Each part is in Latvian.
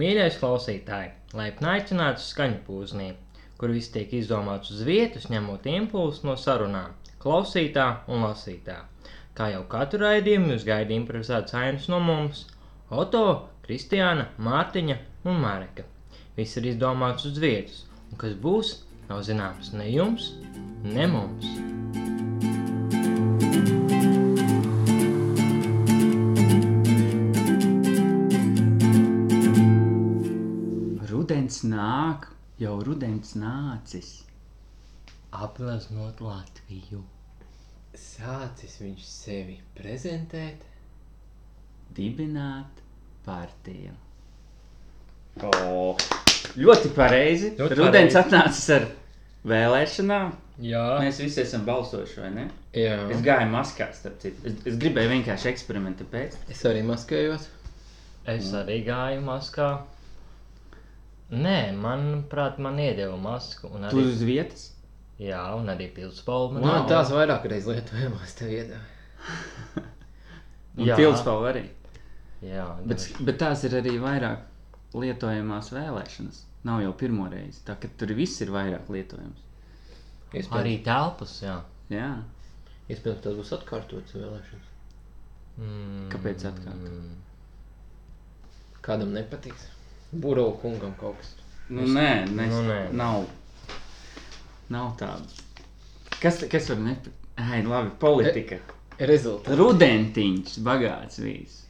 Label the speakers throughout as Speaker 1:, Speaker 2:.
Speaker 1: Mīļais klausītāj, laipni aicināts skaņu pūznī, kur viss tiek izdomāts uz vietas, ņemot impulsu no sarunām, klausītā un lasītā. Kā jau katru raidījumu jūs gaida improvizētas ainas no mums - Oto, Kristiāna, Mārtiņa un Mareka. Viss ir izdomāts uz vietas, un kas būs, nav zināms ne jums, ne mums.
Speaker 2: Rudens nāk, jau rudens nācis.
Speaker 1: Apgleznot Latviju!
Speaker 3: sācis viņš sevi prezentēt.
Speaker 2: Dibināt partiju. O, ļoti pareizi.
Speaker 1: Ļoti
Speaker 2: Ļoti rudens
Speaker 1: pareizi.
Speaker 2: pareizi. atnācis ar vēlēšanām.
Speaker 1: Jā,
Speaker 2: Mēs visi esam balsojuši, vai ne?
Speaker 3: Jā,
Speaker 2: Es gāju maskā, starp citu. Es, es gribēju vienkārši eksperimentu pēc.
Speaker 3: es arī maskējos.
Speaker 1: Es arī gāju maskā. Nē, manuprāt, man iedeva masku. Un
Speaker 2: Tu
Speaker 1: arī,
Speaker 2: uz vietas?
Speaker 1: Jā, un arī pilspalvu. man
Speaker 3: Wow. Man
Speaker 1: iedeva.
Speaker 3: tās vairāk reizes lietojamās tev iedod.
Speaker 2: Jā.
Speaker 1: Jā.
Speaker 2: Pilspau arī.
Speaker 1: Jā,
Speaker 2: Bet, bet tās ir arī vairāk lietojamās vēlēšanas. Nav jau pirmo reizi. Tā ka tur viss ir vairāk lietojams.
Speaker 1: devu. arī telpas, jā.
Speaker 2: Jā.
Speaker 3: Iespējams, tas būs atkārtots vēlēšanas.
Speaker 1: Mm.
Speaker 2: Kāpēc atkārtot?
Speaker 3: Kādam nepatiks. Burbuļu kungam kaut kas.
Speaker 2: Nu, nē, nē,
Speaker 1: Nu, nē.
Speaker 2: Nav, nav tāda. Kas, kas var nepatikt? Ai, labi, politika.
Speaker 1: E-
Speaker 3: Rezultāts.
Speaker 2: Rudentiņš, bagāts vīrs.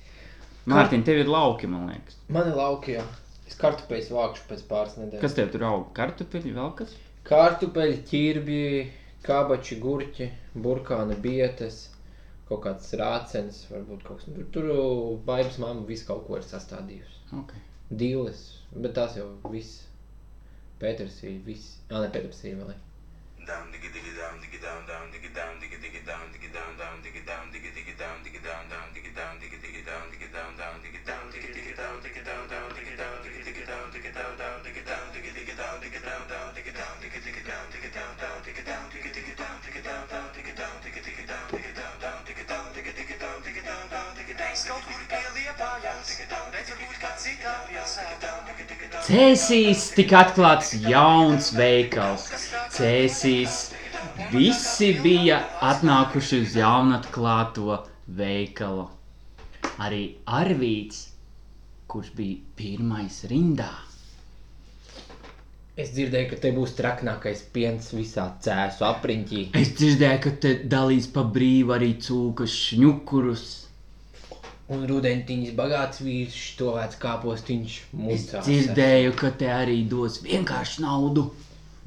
Speaker 2: Mārtiņ, tev ir lauki, man liekas.
Speaker 3: Man ir lauki, jā. Es kartupeļus vākšu pēc pāris nedēļām.
Speaker 2: Kas tev tur aug? Kartupeļi, vēl kas?
Speaker 3: Kartupeļi, ķirbji, kabači, gurķi, burkāni, bietes, kaut kāds rācens, varbūt kaut kas. Tur, tur baibas mamma visu kaut ko ir sastādījusi.
Speaker 2: Okay.
Speaker 3: Dīles, bet tās jau viss. Pēters ir viss. Jā, ne Pēters ir vēl.
Speaker 4: Down, diggy, diggy, down, diggy, down, down, diggy, down, diggy, diggy, down, diggy, down, down, diggy, down, diggy, diggy, down, diggy, down, down, diggy, down, diggy, diggy, down, diggy, down, down, diggy, down, diggy, diggy, down, diggy, down, down, diggy, down, diggy, diggy, down, diggy, down, down, diggy, down, diggy, diggy, down, diggy, down, down, diggy, down, diggy, diggy, down, diggy, down, down, diggy, down, diggy, diggy, down, diggy, down, down, diggy, down, diggy, diggy, down, diggy, down, down, diggy, down, diggy, diggy, down, diggy, down, down, diggy, down, kaut kur pieliepājās, redz varbūt kāds itālijās, diggy, diggy, down,
Speaker 2: Cēsīs tika atklāts jauns veikals. Cēsīs visi bija atnākuši uz jaunatklāto veikalu. Arī Arvīts, kurš bija pirmais rindā.
Speaker 3: Es dzirdēju, ka te būs traknākais piens visā cēsu apriņķī.
Speaker 2: Es dzirdēju, ka te dalīs pa brīvu arī cūkas šņukurus.
Speaker 3: Un rudentiņš bagāts vīrs, to vērts kāpostiņš.
Speaker 2: Es
Speaker 3: Mūsu
Speaker 2: dzirdēju, ka te arī dos vienkārši naudu.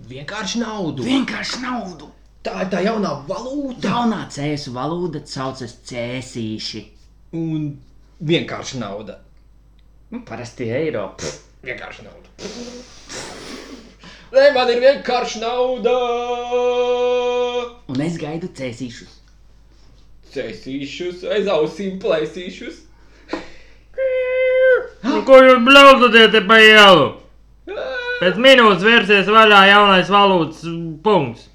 Speaker 3: Vienkārši naudu.
Speaker 2: Vienkārši naudu!
Speaker 3: Tā ir tā jaunā valūta.
Speaker 2: Jaunā cēsu valoda saucas cēsīši.
Speaker 3: Un vienkārši nauda.
Speaker 2: Nu, parasti eiro. Pff,
Speaker 3: Vienkārši nauda. Nē, man ir vienkārši nauda.
Speaker 2: Un es gaidu cēsīšus.
Speaker 3: Cēsīšus, aiz ausīm plēsīšus.
Speaker 1: Nu, ko jūs blauzaties pa ielu? Pēc minūtes vērsies vaļā jaunais valūtas punkts.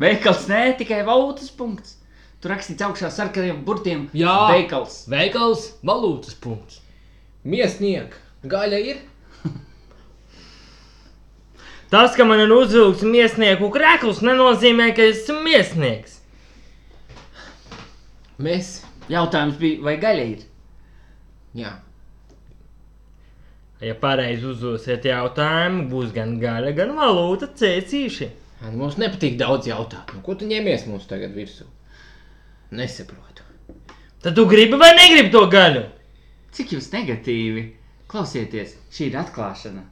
Speaker 2: Veikals ne tikai valūtas punkts. Tur rakstīts augšā sarkaniem burtiem -
Speaker 1: Jā.
Speaker 2: veikals.
Speaker 1: Veikals valūtas punkts.
Speaker 3: Miesnieks, gaļa ir.
Speaker 1: Tas, ka man ir uzvilkts miesnieku krēkls, nenozīmē, ka es esmu miesnieks.
Speaker 3: Mēs,
Speaker 2: Jautājums bija, vai gaļa ir?
Speaker 3: jā,
Speaker 1: Ja pareizi uzdosiet jautājumu, būs gan gaļa, gan valūta cēcīši.
Speaker 3: Anna, nu, mums nepatīk daudz jautāt. Nu, ko tu ņemies mums tagad virsū? Nesaprotu.
Speaker 1: Tad tu gribi vai negribi to gaļu?
Speaker 2: Cik jūs negatīvi? Klausieties, šī ir atklāšana.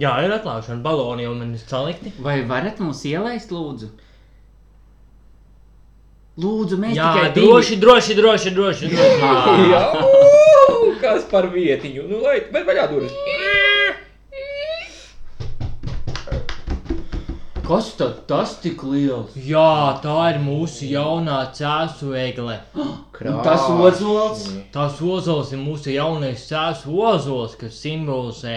Speaker 1: Jā, ir atklāšana, baloni jau man ir salikti.
Speaker 2: Vai varat mums ielaist, lūdzu? Lūdzu, mēs
Speaker 1: Jā,
Speaker 2: tikai
Speaker 1: droši, droši, droši, droši. droši.
Speaker 2: Divi...
Speaker 3: Jau, kas par vietiņu? Nu, lai bet vaļā durvis.
Speaker 2: Kas tad tas tik liels?
Speaker 1: Jā, tā ir mūsu jaunā cēsu eigle.
Speaker 2: Un tas ozols.
Speaker 1: Tās ozols ir mūsu jaunais cēsu ozols, kas simbolizē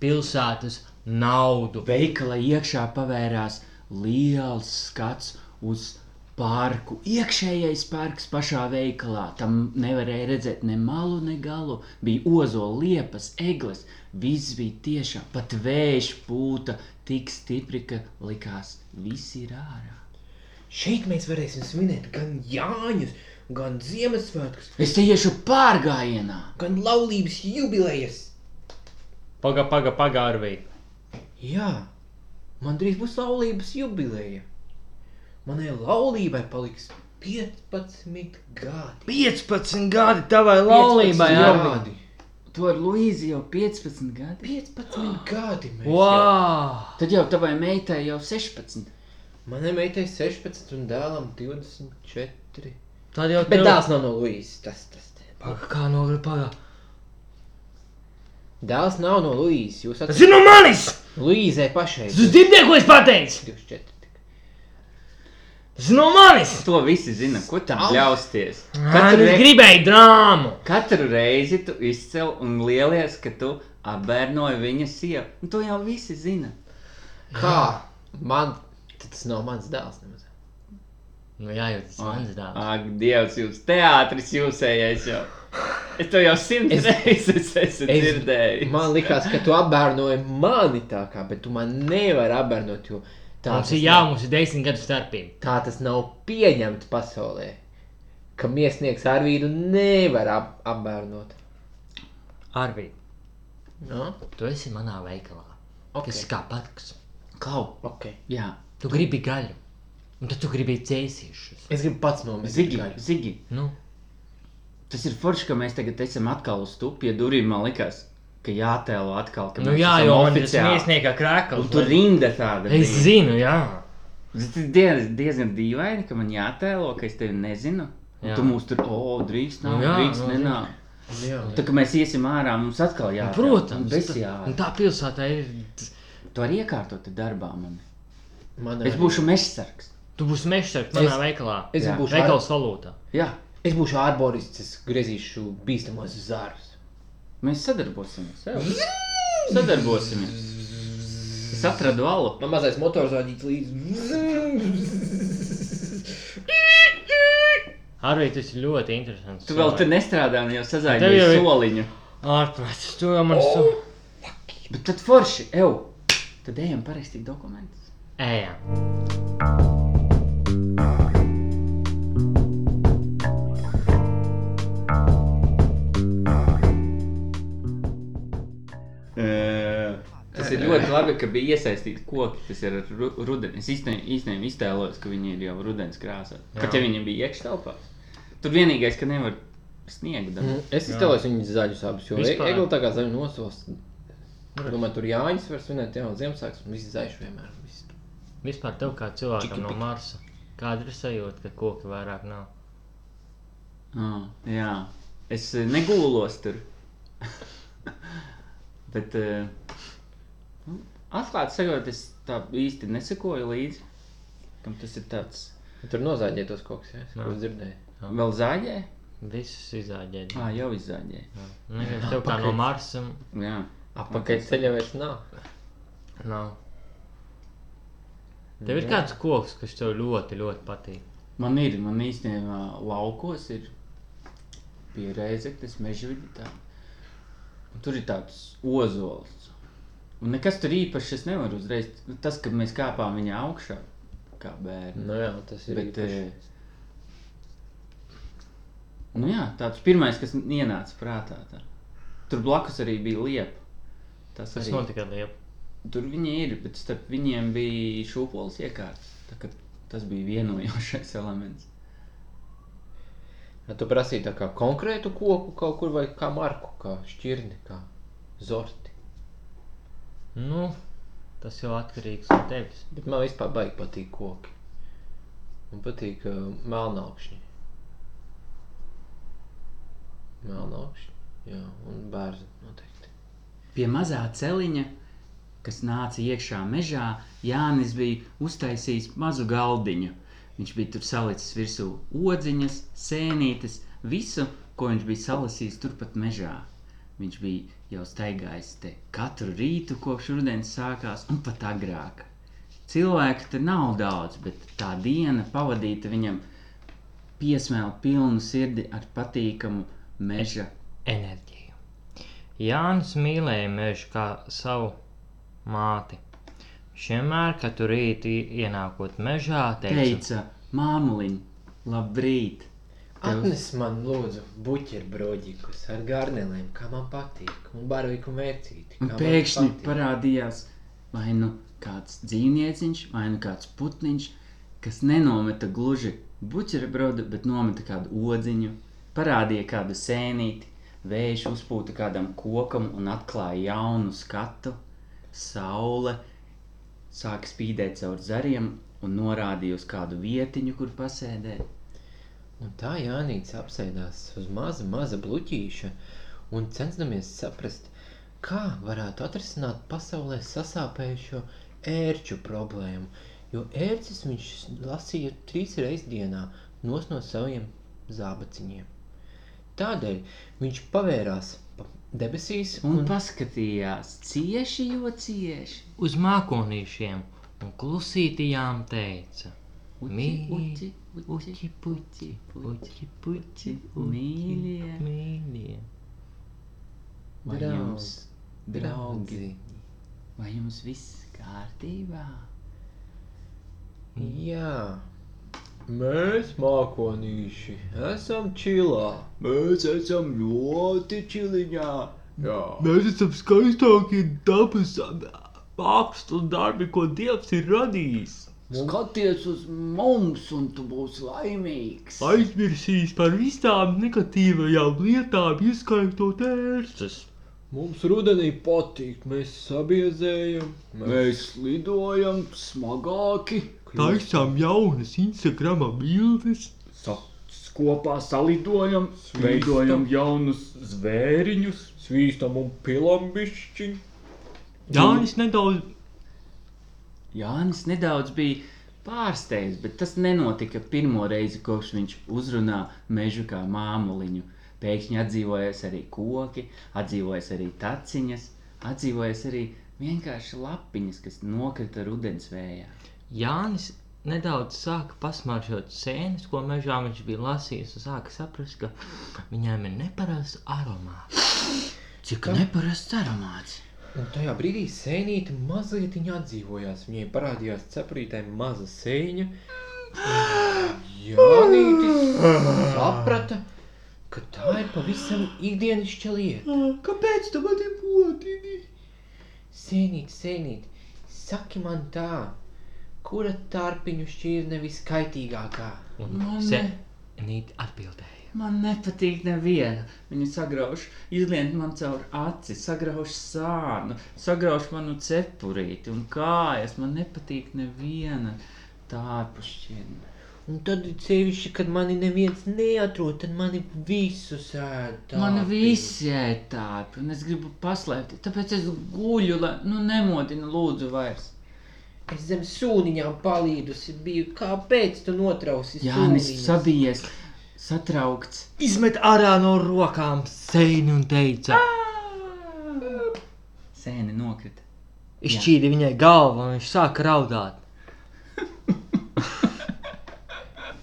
Speaker 1: pilsētas naudu.
Speaker 2: Veikala iekšā pavērās liels skats uz Pārku iekšējais parks pašā veikalā. Tam nevarēja redzēt ne malu, ne galu. Bija ozola, liepas, eglis. Viss bija tiešām pat vējš pūta tik stipri, ka likās, viss ir ārā.
Speaker 3: Šeit mēs varēsim svinēt gan Jāņus, gan Ziemassvētkus,
Speaker 2: Es te iešu pārgājienā.
Speaker 3: gan laulības jubilejas.
Speaker 1: Paga, paga, paga, Arvī.
Speaker 3: Jā, man drīz būs laulības jubileja. Manai laulībai paliks 15 gadi.
Speaker 1: 15 gadi tavai laulībai,
Speaker 3: 15
Speaker 1: Arvī.
Speaker 3: gadi!
Speaker 2: Tu ar Luīzi jau 15 gadi.
Speaker 3: 15 gadi! mēs jau-
Speaker 1: Wow!
Speaker 2: Tad jau tavai meitai jau 16.
Speaker 3: Manai meitai 16 un dēlam Nu. 24.
Speaker 1: Tad jau
Speaker 3: Bet
Speaker 1: tev-
Speaker 3: dēls nav no Luīzes. Tas, tas. tas.
Speaker 1: Paga, kā nogri, paga.
Speaker 3: Dēls nav no Luīzes. Jūs
Speaker 1: Tas ir no manis!
Speaker 3: Luīzē pašai.
Speaker 1: Tu dzirdēji, ko es pateicu?
Speaker 3: 24.
Speaker 1: Tas ir no manis!
Speaker 2: To visi zina, ko tam
Speaker 3: Au!
Speaker 2: ļausties.
Speaker 1: Ai, nu
Speaker 2: Katru,
Speaker 1: Es
Speaker 2: rei...
Speaker 1: gribēju drāmu!
Speaker 2: Katru reizi tu izcēl un lielies, ka tu apbērnoji viņa sievu. Un To jau visi zina.
Speaker 3: Kā? Man tas nav mans dēls. Nemaz.
Speaker 1: Nu jā, jau tas ir mans dāvā.
Speaker 2: Ak, Dievs, jūs teātris jūsējais jau. Es to jau simt es... reizes esmu es... dzirdējis.
Speaker 3: Man liekas, ka tu apbērnoji mani tā kā, bet tu man nevari apbērnot, jo tā
Speaker 1: Mums
Speaker 3: tas
Speaker 1: ir jā,
Speaker 3: nav-
Speaker 1: mums ir desmit gadu starpība.
Speaker 3: Tā tas nav pieņemts pasaulē. Ka mākslinieks ar vīru nevar ap, apbērnot.
Speaker 1: Arvī,
Speaker 3: No?
Speaker 1: tu esi manā veikalā. Okay. Tas ir kā patiks.
Speaker 2: Klau,
Speaker 3: Okay.
Speaker 2: jā.
Speaker 1: Tu gribi gaļu, un tad tu gribi cēsīšus.
Speaker 3: Es gribu pats nomest
Speaker 2: Zigi,
Speaker 3: gaļu.
Speaker 2: Zigi,
Speaker 1: Nu,
Speaker 2: tas ir forši, ka mēs tagad esam atkal uz tu pie durvīm. Man liekas, ka jātēlo atkal, ka
Speaker 1: nu
Speaker 2: mēs
Speaker 1: jā,
Speaker 2: esam
Speaker 1: jau man ir
Speaker 2: oficiāli.
Speaker 1: smiesnieka krēkla.
Speaker 2: Un tur rinda tāda.
Speaker 1: Es
Speaker 2: bija.
Speaker 1: zinu, jā.
Speaker 2: Tas ir diez, diezgan dīvaini, ka man jātēlo, ka es tevi nezinu.
Speaker 1: Jā.
Speaker 2: Jā. Tu mums tur, o, drīkst, nav,
Speaker 1: Nu jā,
Speaker 2: jā, drīkst,
Speaker 1: nu,
Speaker 2: nu, nenāk.
Speaker 3: Jā,
Speaker 2: Tā kā mēs iesim ārā, mums atkal jā.
Speaker 1: Protams,
Speaker 2: tas
Speaker 1: tā-
Speaker 2: ir jā.
Speaker 1: un tā pilsētā ir.
Speaker 2: Tu arī iekārtot darbā man.
Speaker 3: man
Speaker 2: Es
Speaker 3: arī.
Speaker 2: būšu mežsargs.
Speaker 1: Tu būsi mežsargs manā
Speaker 3: Es-
Speaker 1: veikalā.
Speaker 3: Es
Speaker 2: Jā.
Speaker 3: būšu, ar,
Speaker 1: Veikals valūtā.
Speaker 2: Jā,
Speaker 3: es būšu arborists, es griezīšu bīstamos zārus.
Speaker 2: mēs sadarbosimies. Jā. Sadarbosimies. Es atradu alu.
Speaker 3: Man mazais motors vadīts līdzi.
Speaker 1: Arī tas ir ļoti interesants.
Speaker 2: Tu vēl te nestrādā, un jau
Speaker 1: Tev jau
Speaker 2: sazāģēji
Speaker 1: ir-
Speaker 2: soliņu.
Speaker 1: Ārprāts, tu jau man esi.
Speaker 2: Bet tad forši, ev, tad ejam parakstīt dokumentus.
Speaker 1: Ejam.
Speaker 2: Tas ir ļoti labi, ka bija iesaistīti koki. Tas ir ru- rudenis. Es īstenībā iztēlojos, ka viņi ir jau rudenis krāsā. Pat ja viņi bija iekšā telpā. Tur vienīgais, ka nevar sniegt. Mm.
Speaker 3: Nu, Es iztēlos viņus zaļus abus, jo e-
Speaker 1: Vispār.
Speaker 3: Eglu tā kā zaļu nosos. Domāju, tur Jāņus var svinēt, jā, un Ziemassvētkus, un viss zaļš vienmēr. viss.
Speaker 1: Vispār tev kā cilvēkam no Marsa. Kāda ir sajūta, ka koki vairāk nav?
Speaker 2: Ah, jā, es eh, negūlos tur. Bet eh, nu, atklāti sakot, es tā īsti nesekoju līdzi. Kam tas ir tāds?
Speaker 3: Tur nozāģē tos koks, jā, es
Speaker 1: Jā.
Speaker 3: jau dzirdēju.
Speaker 2: Vēl zāģē?
Speaker 1: Visus izāģēt.
Speaker 2: Jā, jau izzāģē.
Speaker 1: Neviens tev kā no Marsa
Speaker 2: Jā.
Speaker 3: Apakaļ ceļā vairs nav.
Speaker 1: nav. Tev ir kāds koks, kas tev ļoti, ļoti patīk.
Speaker 2: Man ir, man īstenībā laukos ir pieredzektas mežvidītā. Tur ir tāds ozols. Un nekas tur īpašs es nevaru uzreiz. nu, Tas, kad mēs kāpām viņa augšā, kā bērni.
Speaker 3: Nu jā, tas ir
Speaker 2: Bet,
Speaker 3: īpaši.
Speaker 2: eh, nu jā, tāds pirmais, kas ienāca prātā. Tā. Tur blakus arī bija liepa. Tas
Speaker 1: Tas
Speaker 2: arī
Speaker 1: notika liepa.
Speaker 2: Tur viņi ir, bet starp viņiem bija šūpoles iekārtas. Tā kā Tas bija vienojošais elements.
Speaker 3: Ja tu prasīji tā kā konkrētu koku kaut kur vai kā marku, kā šķirni, kā zorti.
Speaker 1: Nu, tas jau atkarīgs no tevis.
Speaker 3: Bet man vispār baigi patīk koki. Man patīk uh, melnākšņi. Melnākšņi, jā, un bērni noteikti.
Speaker 2: Pie mazā celiņa, kas nāca iekšā mežā, Jānis bija uztaisījis mazu galdiņu. Viņš bija tur salicis virsū odziņas, sēnītes, visu, ko viņš bija salasījis turpat mežā. Viņš bija jau staigājis te katru rītu, kopš rudens sākās, un pat agrāk. Cilvēku tur nav daudz, bet tā diena pavadīta viņam piesmēlu pilnu sirdi ar patīkamu meža.
Speaker 1: enerģiju. Jānis mīlēja mežu kā savu māti. Viņš vienmēr, kad tur rītī ienākot mežā, teica,
Speaker 2: Teica, māmuliņ, labrīt! Tev-
Speaker 3: Atnes man, lūdzu, buļbuļsaktas ar garnēliem, kā man patīk, un barvīgu mērcīti.
Speaker 2: Un
Speaker 3: kā man
Speaker 2: pēkšņi
Speaker 3: patīk.
Speaker 2: parādījās vai nu kāds dzīvnieciņš, vai nu kāds putniņš, kas nenometa gluži buļbuļsaktu, bet nometa kādu odziņu, parādīja kādu sēnīti, vējš uzpūta kādam kokam un atklāja jaunu skatu. Saule sāka spīdēt caur zariem un norādīja uz kādu vietiņu, kur pasēdēt.
Speaker 3: Un tā Jānis apsēdās uz maza, maza bloķīša un censdamies saprast, kā varētu atrisināt pasaulē sasāpējušo ērču problēmu. Jo ērces viņš lasīja trīs reizes dienā nos no saviem zābaciņiem. Tādēļ viņš pavērās pa debesīs
Speaker 2: Un paskatījās cieši, jo cieši.
Speaker 1: uz mākonīšiem un klusītījām teica. Mī-
Speaker 2: Uķi, uķi,
Speaker 1: Uķi, puķi, puķi, puķi,
Speaker 2: Mīļie.
Speaker 1: mīļie.
Speaker 2: Vai jums,
Speaker 3: Draugs,
Speaker 2: draugi,
Speaker 3: draugi.
Speaker 2: vai jums viss kārtībā?
Speaker 3: Mm. Jā, mēs mākonīši esam čilā. Mēs esam ļoti čiliņā. Jā,
Speaker 5: Mēs esam skaistākie dabas mākslas darbi, ko Dievs ir radījis.
Speaker 2: Skaties uz mums, un tu būsi laimīgs.
Speaker 5: Aizmirsīs par visām negatīvajām lietām, ieskaitot ērces.
Speaker 3: mums rudenī patīk, mēs sabiezējam, mēs
Speaker 2: lidojam smagāki,
Speaker 5: Taisām jaunas Instagram bildes,
Speaker 2: kopā salidojam,
Speaker 3: veidojam
Speaker 2: jaunus zvēriņus.
Speaker 3: svīstam un pilam bišķiņ.
Speaker 5: Jānis nedaudz
Speaker 2: Jānis nedaudz bija pārsteigts, bet tas nenotika pirmo reizi, kopš viņš uzrunā mežu kā māmuliņu. Pēkšņi atdzīvojās arī koki, atdzīvojās arī taciņas, atdzīvojās arī vienkārši lapiņas, kas nokrita rudens vējā.
Speaker 1: Jānis nedaudz sāka pasmaržot sēnes, ko mežā viņš bija lasījis, un sāka saprast, ka viņām ir neparasts aromāts.
Speaker 2: Cik neparasts aromāts!
Speaker 3: Un tajā brīdī sēnīte mazliet atdzīvojās. Viņai parādījās ceprītē maza sēņa. Jānītis saprata, ka tā ir pavisam ikdienišķa lieta.
Speaker 5: Kāpēc tu mani potini?
Speaker 3: Sēnīt, sēnīt, saki man tā, kura tārpiņu šķirne viskaitīgākā?
Speaker 1: Un
Speaker 2: Mane.
Speaker 1: sēnīt atbildēja.
Speaker 2: Man nepatīk neviena. Viņu sagrauž, izlien man caur aci, sagrauž sānu, sagrauž manu cepurīti un kājas. Man nepatīk neviena tārpušķina.
Speaker 3: Un tad ir sevišķi, kad mani neviens neatrod, tad mani visu sēd.
Speaker 2: Man
Speaker 3: tārpiņu.
Speaker 2: visi ir tādi, un es gribu paslēpt. Tāpēc es guļu, lai nu, nemodinu, lūdzu, vairs.
Speaker 3: Es zem sūniņām palīdusi biju, kāpēc tu notrausi
Speaker 2: Jānis
Speaker 3: sūniņas?
Speaker 2: sabijies, satraukts.
Speaker 1: izmet ārā no rokām sēni un teica,
Speaker 2: Sēne nokrita.
Speaker 1: izšķīdi viņai galvu, un viņš sāka raudāt.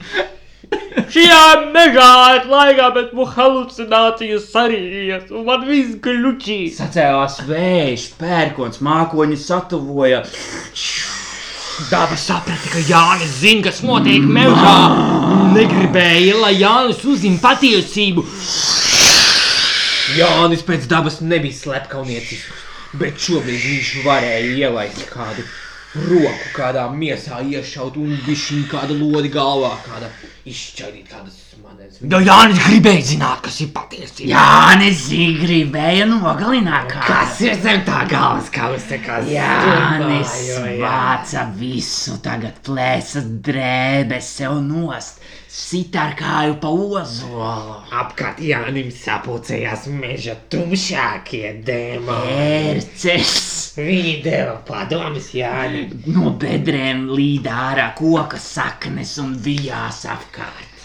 Speaker 5: Šajā mežā ir laikā, bet man halucinācijas sarījies, un man viss gluķīs.
Speaker 2: Sacēlās vējš, pērkons, mākoņi satuvojās.
Speaker 5: Daba saprata, ka Jānis zina, kas notiek mežā. Negribēja, lai Jānis uzzina patiesību.
Speaker 3: Jānis pēc dabas nebija slepkavniecis, bet šobrīd viņš varēja ielaist kādu roku, kādā miesā iešaut un višķiņu kādu lodi galvā, kāda izšķaidīt kādas smadzenes.
Speaker 5: Jo Nu, Jānis gribēja zināt, kas ir patiesība.
Speaker 2: Jānis gribēja nogalināt kādu.
Speaker 5: ir zem tā galvas, kā jūs sakāt?
Speaker 2: Jānis
Speaker 3: Domāju, jā.
Speaker 2: vāca visu, tagad plēsa drēbes sev nost, sit ar kāju pa ozolu.
Speaker 5: Apkārt Jānim sapulcējās meža tumšākie dēmoni.
Speaker 2: Ērces
Speaker 5: Viņi deva padomus Jānim.
Speaker 2: no bedrēm līd ārā koka saknes un vijās apkārt.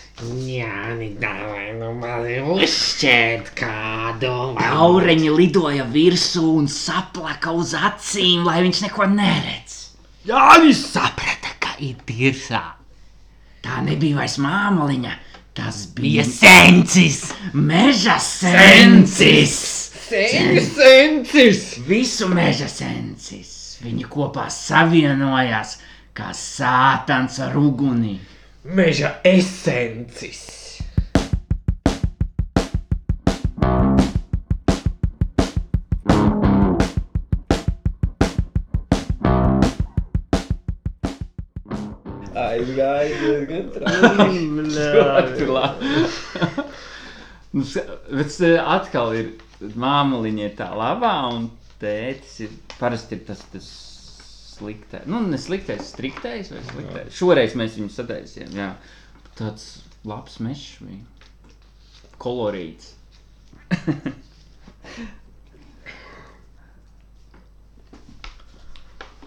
Speaker 5: Jāni, dāvāj, nu mani uzšķērt kādu.
Speaker 2: Aureņi lidoja virsū un saplaka uz acīm, lai viņš neko neredz. Jānis saprata, ka ir tirsā. Tā nebija vairs māmaliņa. Tas bija sensis. Meža sensis.
Speaker 5: Sensis!
Speaker 2: Visu meža sensis. Viņi kopā savienojās kā sātans ar uguni.
Speaker 5: Meža esencis!
Speaker 3: Aizgāja diezgan traki.
Speaker 2: Ļoti labi. Nu, se- Bet se atkal ir māmiņa, ir tā labā, un tētis ir parasti ir tas, tas sliktais. Nu, ne sliktais, striktais vai sliktais. Jā. Šoreiz mēs viņu sataisījām. Jā. Tāds labs mežs bija. Kolorīts.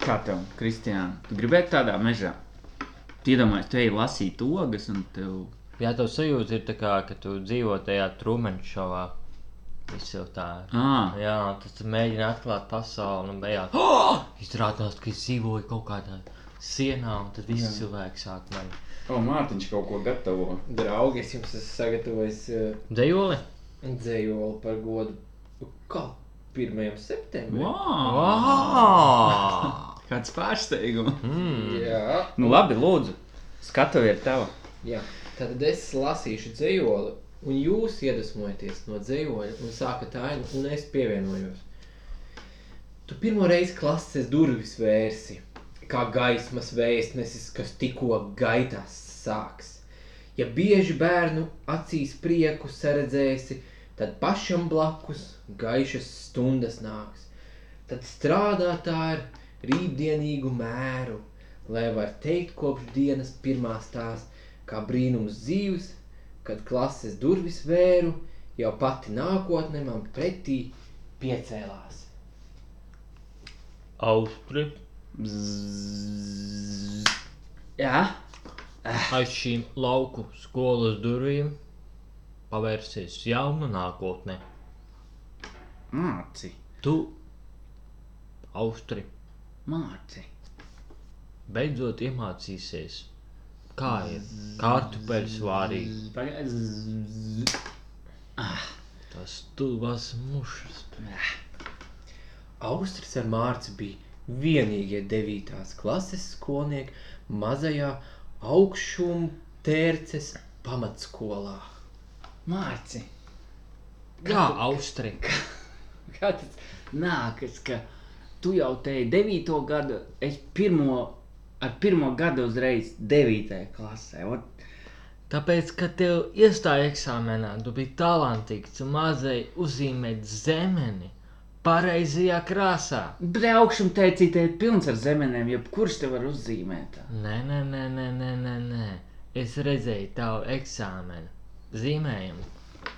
Speaker 2: Kā tev, Kristija? Tu gribētu tādā mežā? Iedomājieties, te ir lasīt ogas, un tev
Speaker 1: Jā, tev sajūta ir tā, kā, ka tu dzīvo tajā trūmenšovā. Viss jau tā ir.
Speaker 2: ah,
Speaker 1: Jā, tas tu mēģini atklāt pasauli un beigās izrādās, ka es dzīvoju kaut kādā sienā, un tad visi cilvēki sāk mani
Speaker 2: oh, Mārtiņš kaut ko gatavo.
Speaker 3: Draugi, es jums esmu sagatavojis uh,
Speaker 1: dejoli.
Speaker 3: dzējoli par godu. Nu, Kā? 1. septembrī.
Speaker 2: Wow!
Speaker 1: Wow!
Speaker 2: Kāds pārsteigums!
Speaker 1: Mm.
Speaker 3: Jā.
Speaker 2: Nu, labi, lūdzu, skatoties tev.
Speaker 3: Jā. Tad es lasīšu dzējoli, un jūs iedvesmojaties no dzējoļa un sākat ainu, un es pievienojos. Tu pirmo reizi klases durvis vērsi, kā gaismas vēstnesis, kas tikko gaitās sāks. Ja bieži bērnu acīs prieku saredzēsi, tad pašam blakus gaišas stundas nāks. Tad strādātā ar rītdienīgu mēru, lai var teikt kopš dienas pirmās tās, kā brīnums dzīves, kad klases durvis vēru, jau pati nākotne man pretī piecēlās.
Speaker 1: Austri
Speaker 2: Jā,
Speaker 1: aiz šīm lauku skolas durvīm pavērsies jauna nākotne.
Speaker 2: māci,
Speaker 1: Tu, Austri,
Speaker 2: māci.
Speaker 1: beidzot iemācīsies, kā ir kartupeļs vārīt.
Speaker 2: Pagaid-
Speaker 1: Tas tuvas mušas.
Speaker 3: Austrijas ar Mārci bija vienīgie devītās klases skolnieki mazajā augšuma tērces pamatskolā.
Speaker 2: Māci,
Speaker 1: Kā Austri?
Speaker 2: kā tas nākas, ka tu jau te esi devīto gadu, es pirmo, ar pirmo gadu uzreiz devītajā klasē. Ot,
Speaker 1: Tāpēc, kad tev iestājās eksāmenā, tu biji talantīgs un mazai uzzīmēt zemeni pareizajā krāsā.
Speaker 2: Braukšana teicīja, te ir pilns ar zemenēm, jebkurš te var uzzīmēt.
Speaker 1: Nē, nē, nē, nē, nē, nē, nē. es redzēju tavu eksāmenu, zīmējumu.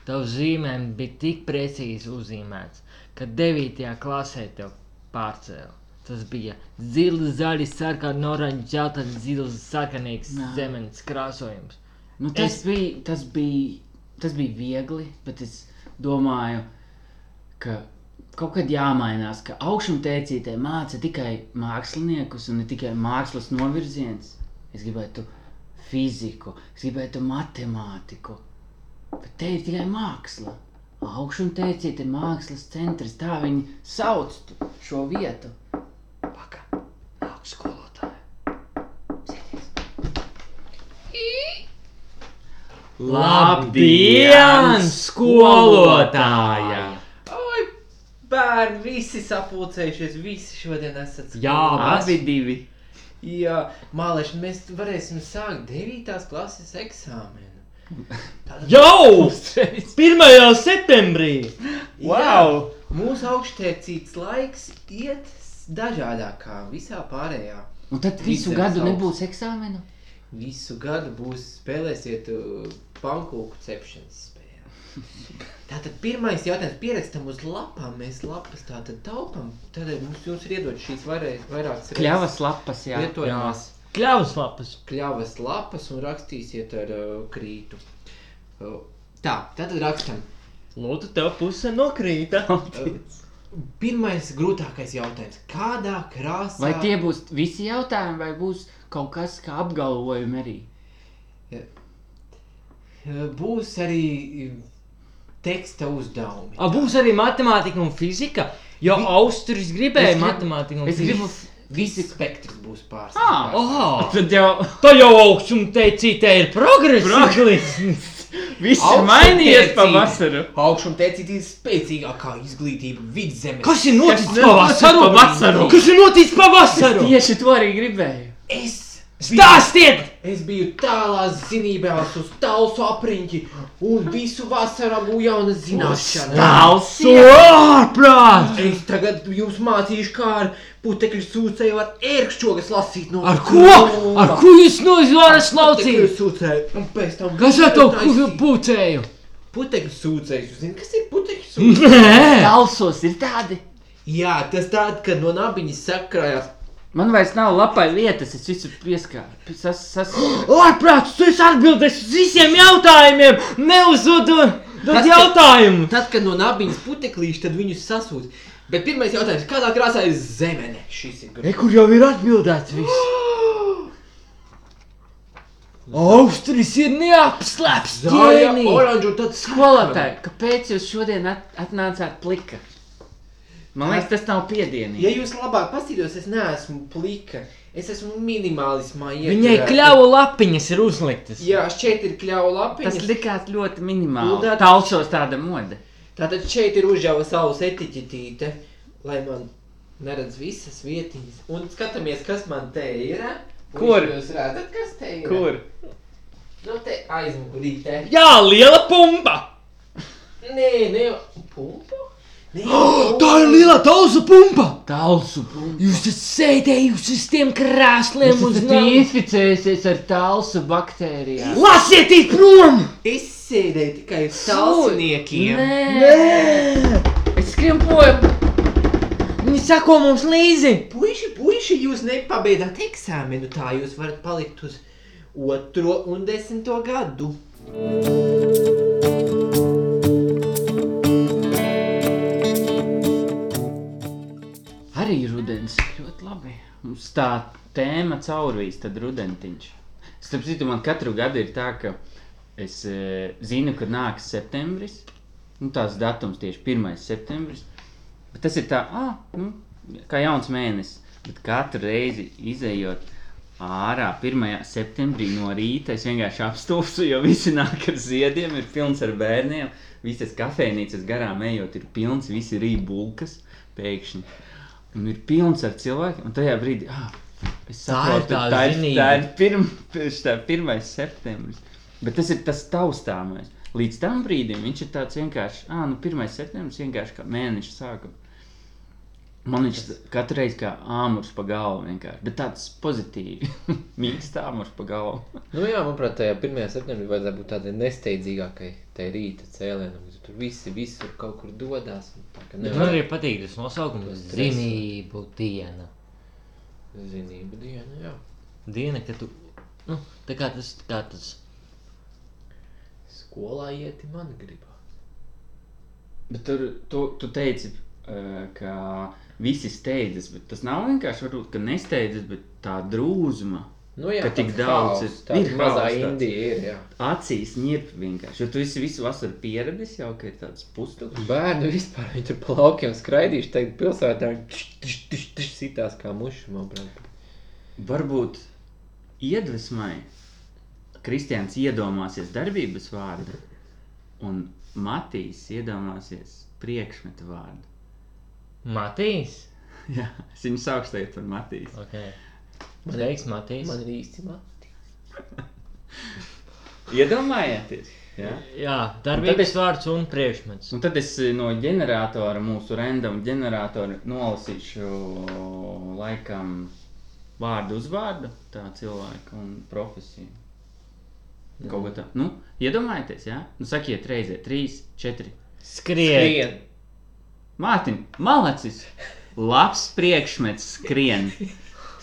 Speaker 1: Tavs zīmējums bija tik precīzi uzzīmēts, ka 9. klasē tev pārcēlīja. Tas bija zils, zaļš, sarkans, oranžs, dzeltens, zils, sarkanīgs
Speaker 2: Nā.
Speaker 1: zemes krāsojums.
Speaker 2: Nu, tas, es... bija, tas, bija, tas bija viegli, bet es domāju, ka kaut kad jāmainās, ka augšupielācītē māca tikai māksliniekus un ne tikai mākslas novirziens. Es gribētu fiziku, es gribētu matemātiku, bet te ir tikai māksla. Augšupielācītē mākslas centrs, tā viņi sauc tu- šo vietu. Paka, nāk skolotāji. Labdien, skolotāja!
Speaker 3: Ai, bērni, visi sapulcējušies, visi šodien esat skolā.
Speaker 5: Jā,
Speaker 2: Abi divi.
Speaker 3: Jā, māleši, mēs varēsim sākt 9. klases eksāmenu. Tātad
Speaker 1: Jau! 1. septembrī!
Speaker 3: Wow! Mūsu augšteicīts laiks iet s- dažādākā, visā pārējā.
Speaker 2: Un tad visu
Speaker 3: Vidzemes
Speaker 2: gadu
Speaker 3: augsts.
Speaker 2: nebūs eksāmena.
Speaker 3: Visu gadu būs spēlēsiet uh, pankūku cepšanas spēli. Tātad pirmais jautājums pierakstam uz lapām, mēs lapas tātad taupam, tādēļ mums jūs ir iedot šīs varē- vairākas
Speaker 2: Kļavas lapas, jā.
Speaker 3: lietojumās
Speaker 1: Kļavas lapas!
Speaker 3: kļavas lapas un rakstīsiet ar uh, krītu. Uh, tā, tad rakstam.
Speaker 1: Lūdzu, tev puse nokrīta!
Speaker 3: Uh, Pirmais grūtākais jautājums. Kādā krāsā?
Speaker 2: Vai tie būs visi jautājumi, vai būs kaut kas kā apgalvojumi arī?
Speaker 3: eh, būs arī eh, teksta uzdevumi?
Speaker 5: A, būs arī matemātika un fizika. Jo Vi... Austrijas gribēja
Speaker 2: Es gribu-
Speaker 5: matemātiku un
Speaker 2: es gribu-
Speaker 5: fiziku.
Speaker 3: Visi spektrs būs
Speaker 2: Ah,
Speaker 3: pārstāvs.
Speaker 5: Oh,
Speaker 2: Tad jau
Speaker 5: tā jau augsts un teicītē ir progress. Progress.
Speaker 2: viss ir
Speaker 3: Augstu
Speaker 2: mainījies
Speaker 3: tiecību.
Speaker 2: pavasaru.
Speaker 3: Augšām tecītīs spēcīgākā izglītība vidzemē.
Speaker 5: Kas ir noticis
Speaker 2: Kas noticis
Speaker 5: pavasaru?
Speaker 2: pavasaru?
Speaker 5: Kas ir noticis pavasaru?
Speaker 2: Tieši to arī gribēju.
Speaker 3: Es
Speaker 5: Stāstiet!
Speaker 3: Es biju tālās zinībās, uz tālu apriņķi, un visu vasarā bija jauna zināšana.
Speaker 2: Tāls!
Speaker 5: Sārprāt!
Speaker 3: Es tagad jums mācīšu, kā ar putekļu sūcēju ar ērkšķogas lasīt no
Speaker 5: Ar ko? Ar ko jūs no zvaras
Speaker 3: Putekļu
Speaker 5: laucījāt?
Speaker 3: sūcēju, un pēc tam
Speaker 5: Kas ar to
Speaker 3: taisīt.
Speaker 5: ku- pūcēju?
Speaker 3: Putekļu sūcējs, jūs zināt, kas ir putekļu sūcējs?
Speaker 5: Nē!
Speaker 2: Talsos ir tādi!
Speaker 3: Jā, tas tāds, kad no nabiņas sakrājās.
Speaker 2: Man vairs nav lapai lietas, es visu pieskāru. Sas, sas...
Speaker 5: Ārprāt, tu esi atbildējis uz visiem jautājumiem! Neuzdod
Speaker 3: Tas, ka-
Speaker 5: jautājumu!
Speaker 3: Tad, kad no nabiņas puteklīši, tad viņus sasūta. Bet pirmais jautājums, kādā krāsā ir zemene? Šis ir grūts.
Speaker 5: Kur jau ir atbildēts viss? Austrijas ir neapslēpts!
Speaker 3: Zaļa,
Speaker 5: ķēnī.
Speaker 3: oranža un tad
Speaker 2: Skolotāji, kāpēc jūs šodien at atnācāt plika? Man liekas, tas nav
Speaker 3: Ja
Speaker 2: piedienīgi.
Speaker 3: jūs labāk paskatītos, es neesmu plika. Es esmu minimālismā.
Speaker 5: Viņai
Speaker 3: ieturēta.
Speaker 5: kļavu lapiņas ir uzliktas.
Speaker 3: Jā, šeit ir kļava lapiņas.
Speaker 2: Tas likās ļoti minimāli.
Speaker 3: Lūdzu.
Speaker 2: Talšos tāda mode.
Speaker 3: Tātad šeit ir uzžāva savus etiķetīte, lai man neredz visas vietiņas. Un skatāmies, kas man te ir. Un
Speaker 2: Kur?
Speaker 3: Jūs redzat, kas te ir? Nu, te aizmugurīte.
Speaker 5: Jā, liela pumpa!
Speaker 3: Nē, nē, pumpu? Nē,
Speaker 5: Tā ir liela tauza pumpa!
Speaker 2: Talsu pumpa.
Speaker 5: Jūs esat sēdējusi uz tiem krēsliem
Speaker 2: Jūs
Speaker 5: un
Speaker 2: esat inficējusies ar talsu baktērijām.
Speaker 5: Lasiet, iet prom!
Speaker 3: Izsēdēja tikai uz salsniekiem.
Speaker 5: Nē!
Speaker 2: Es skrimpoju.
Speaker 5: Viņi sako mums līdzi!
Speaker 3: Puiši, puiši, jūs nepabeidzat eksāmenu, tā jūs varat palikt uz otro un desmito gadu.
Speaker 2: Arī rudens ir ļoti labi. Mums tā tēma caurvīs, tad rudentiņš. Starp citu, man katru gadu ir tā, ka es e, zinu, ka nāks septembris. Nu, tās datums tieši 1. septembris. Bet tas ir tā, ah, nu, kā jauns mēnesis. Bet katru reizi izējot ārā 1. septembrī no rīta, es vienkārši apstulsu, jo visi nāk ar ziediem, ir pilns ar bērniem. Visas kafejnīcas garām ejot, ir pilns, visi rīja bulkas pēkšņi. Un ir pilns ar cilvēkiem, un tajā brīdī, ah, es
Speaker 3: Tā ir
Speaker 2: saprotu,
Speaker 3: tā
Speaker 2: tā ir,
Speaker 3: zinība.
Speaker 2: tā ir pirm, pirš- tā 1. septembris. Bet tas ir tas taustāmais. Līdz tam brīdim viņš ir tāds vienkārši, ah, nu 1. septembris vienkārši kā mēneša sākums. Man viņš katru reizi kā āmurs pa galvu vienkārši, bet tāds pozitīvs, mīksts āmurs pa galvu.
Speaker 6: Nu jā, manuprāt, tajā 1. septembrī vajadzētu būt tādai nesteidzīgākai tai rīta cēlienam, jo tur visi visur kaut kur dodas. un Tā
Speaker 3: Nu,
Speaker 6: kā
Speaker 1: Man
Speaker 6: nevar
Speaker 1: Nu, arī patīk tas nosaukums - zinību diena.
Speaker 6: zinību diena, jā.
Speaker 1: Diena, kad tu. Nu, tā kā tas. tā Kā tas
Speaker 6: Skolā ieti man gribās.
Speaker 2: Bet tur tu, tu teici, eh, ka visi steidzas, bet tas nav vienkārši varbūt, ka nesteidzas, bet tā drūzuma
Speaker 6: Nu jā,
Speaker 2: Ka tik
Speaker 6: tāds
Speaker 2: daudz ir-
Speaker 6: haoss, tāda
Speaker 2: ir
Speaker 6: mazā
Speaker 2: haoss tāds.
Speaker 6: Indija ir, jā.
Speaker 2: acīs nirp vienkārši, jo tu esi visu vasaru pieradis jau, ka ir tāds pustukšs.
Speaker 6: Bērni vispār viņi tur pa laukiem skraidījuši, tagad pilsētā viņi tš, tš, tš, tš, sitās kā muši, manuprāt.
Speaker 2: Varbūt iedvesmai Kristians iedomāsies darbības vārdu, un Matīs iedomāsies priekšmetu vārdu.
Speaker 1: Matīs?
Speaker 2: Jā, es viņu saucu tagad par Matīs.
Speaker 1: Okay. Sveiks, Matīs.
Speaker 6: Man ir īsti mati.
Speaker 2: Iedomājieties! Jā.
Speaker 1: Jā, darbības vārds un priekšmets.
Speaker 2: Un tad es eh, no ģeneratora, mūsu random ģeneratora, nolasīšu laikam vārdu uz vārdu tā cilvēka un profesiju. Kaut kā tā. Nu, iedomājieties, jā? Nu, sakiet reizē, trīs, četri.
Speaker 1: Skrien.
Speaker 2: Mārtiņ, malacis! Labs priekšmets skrien!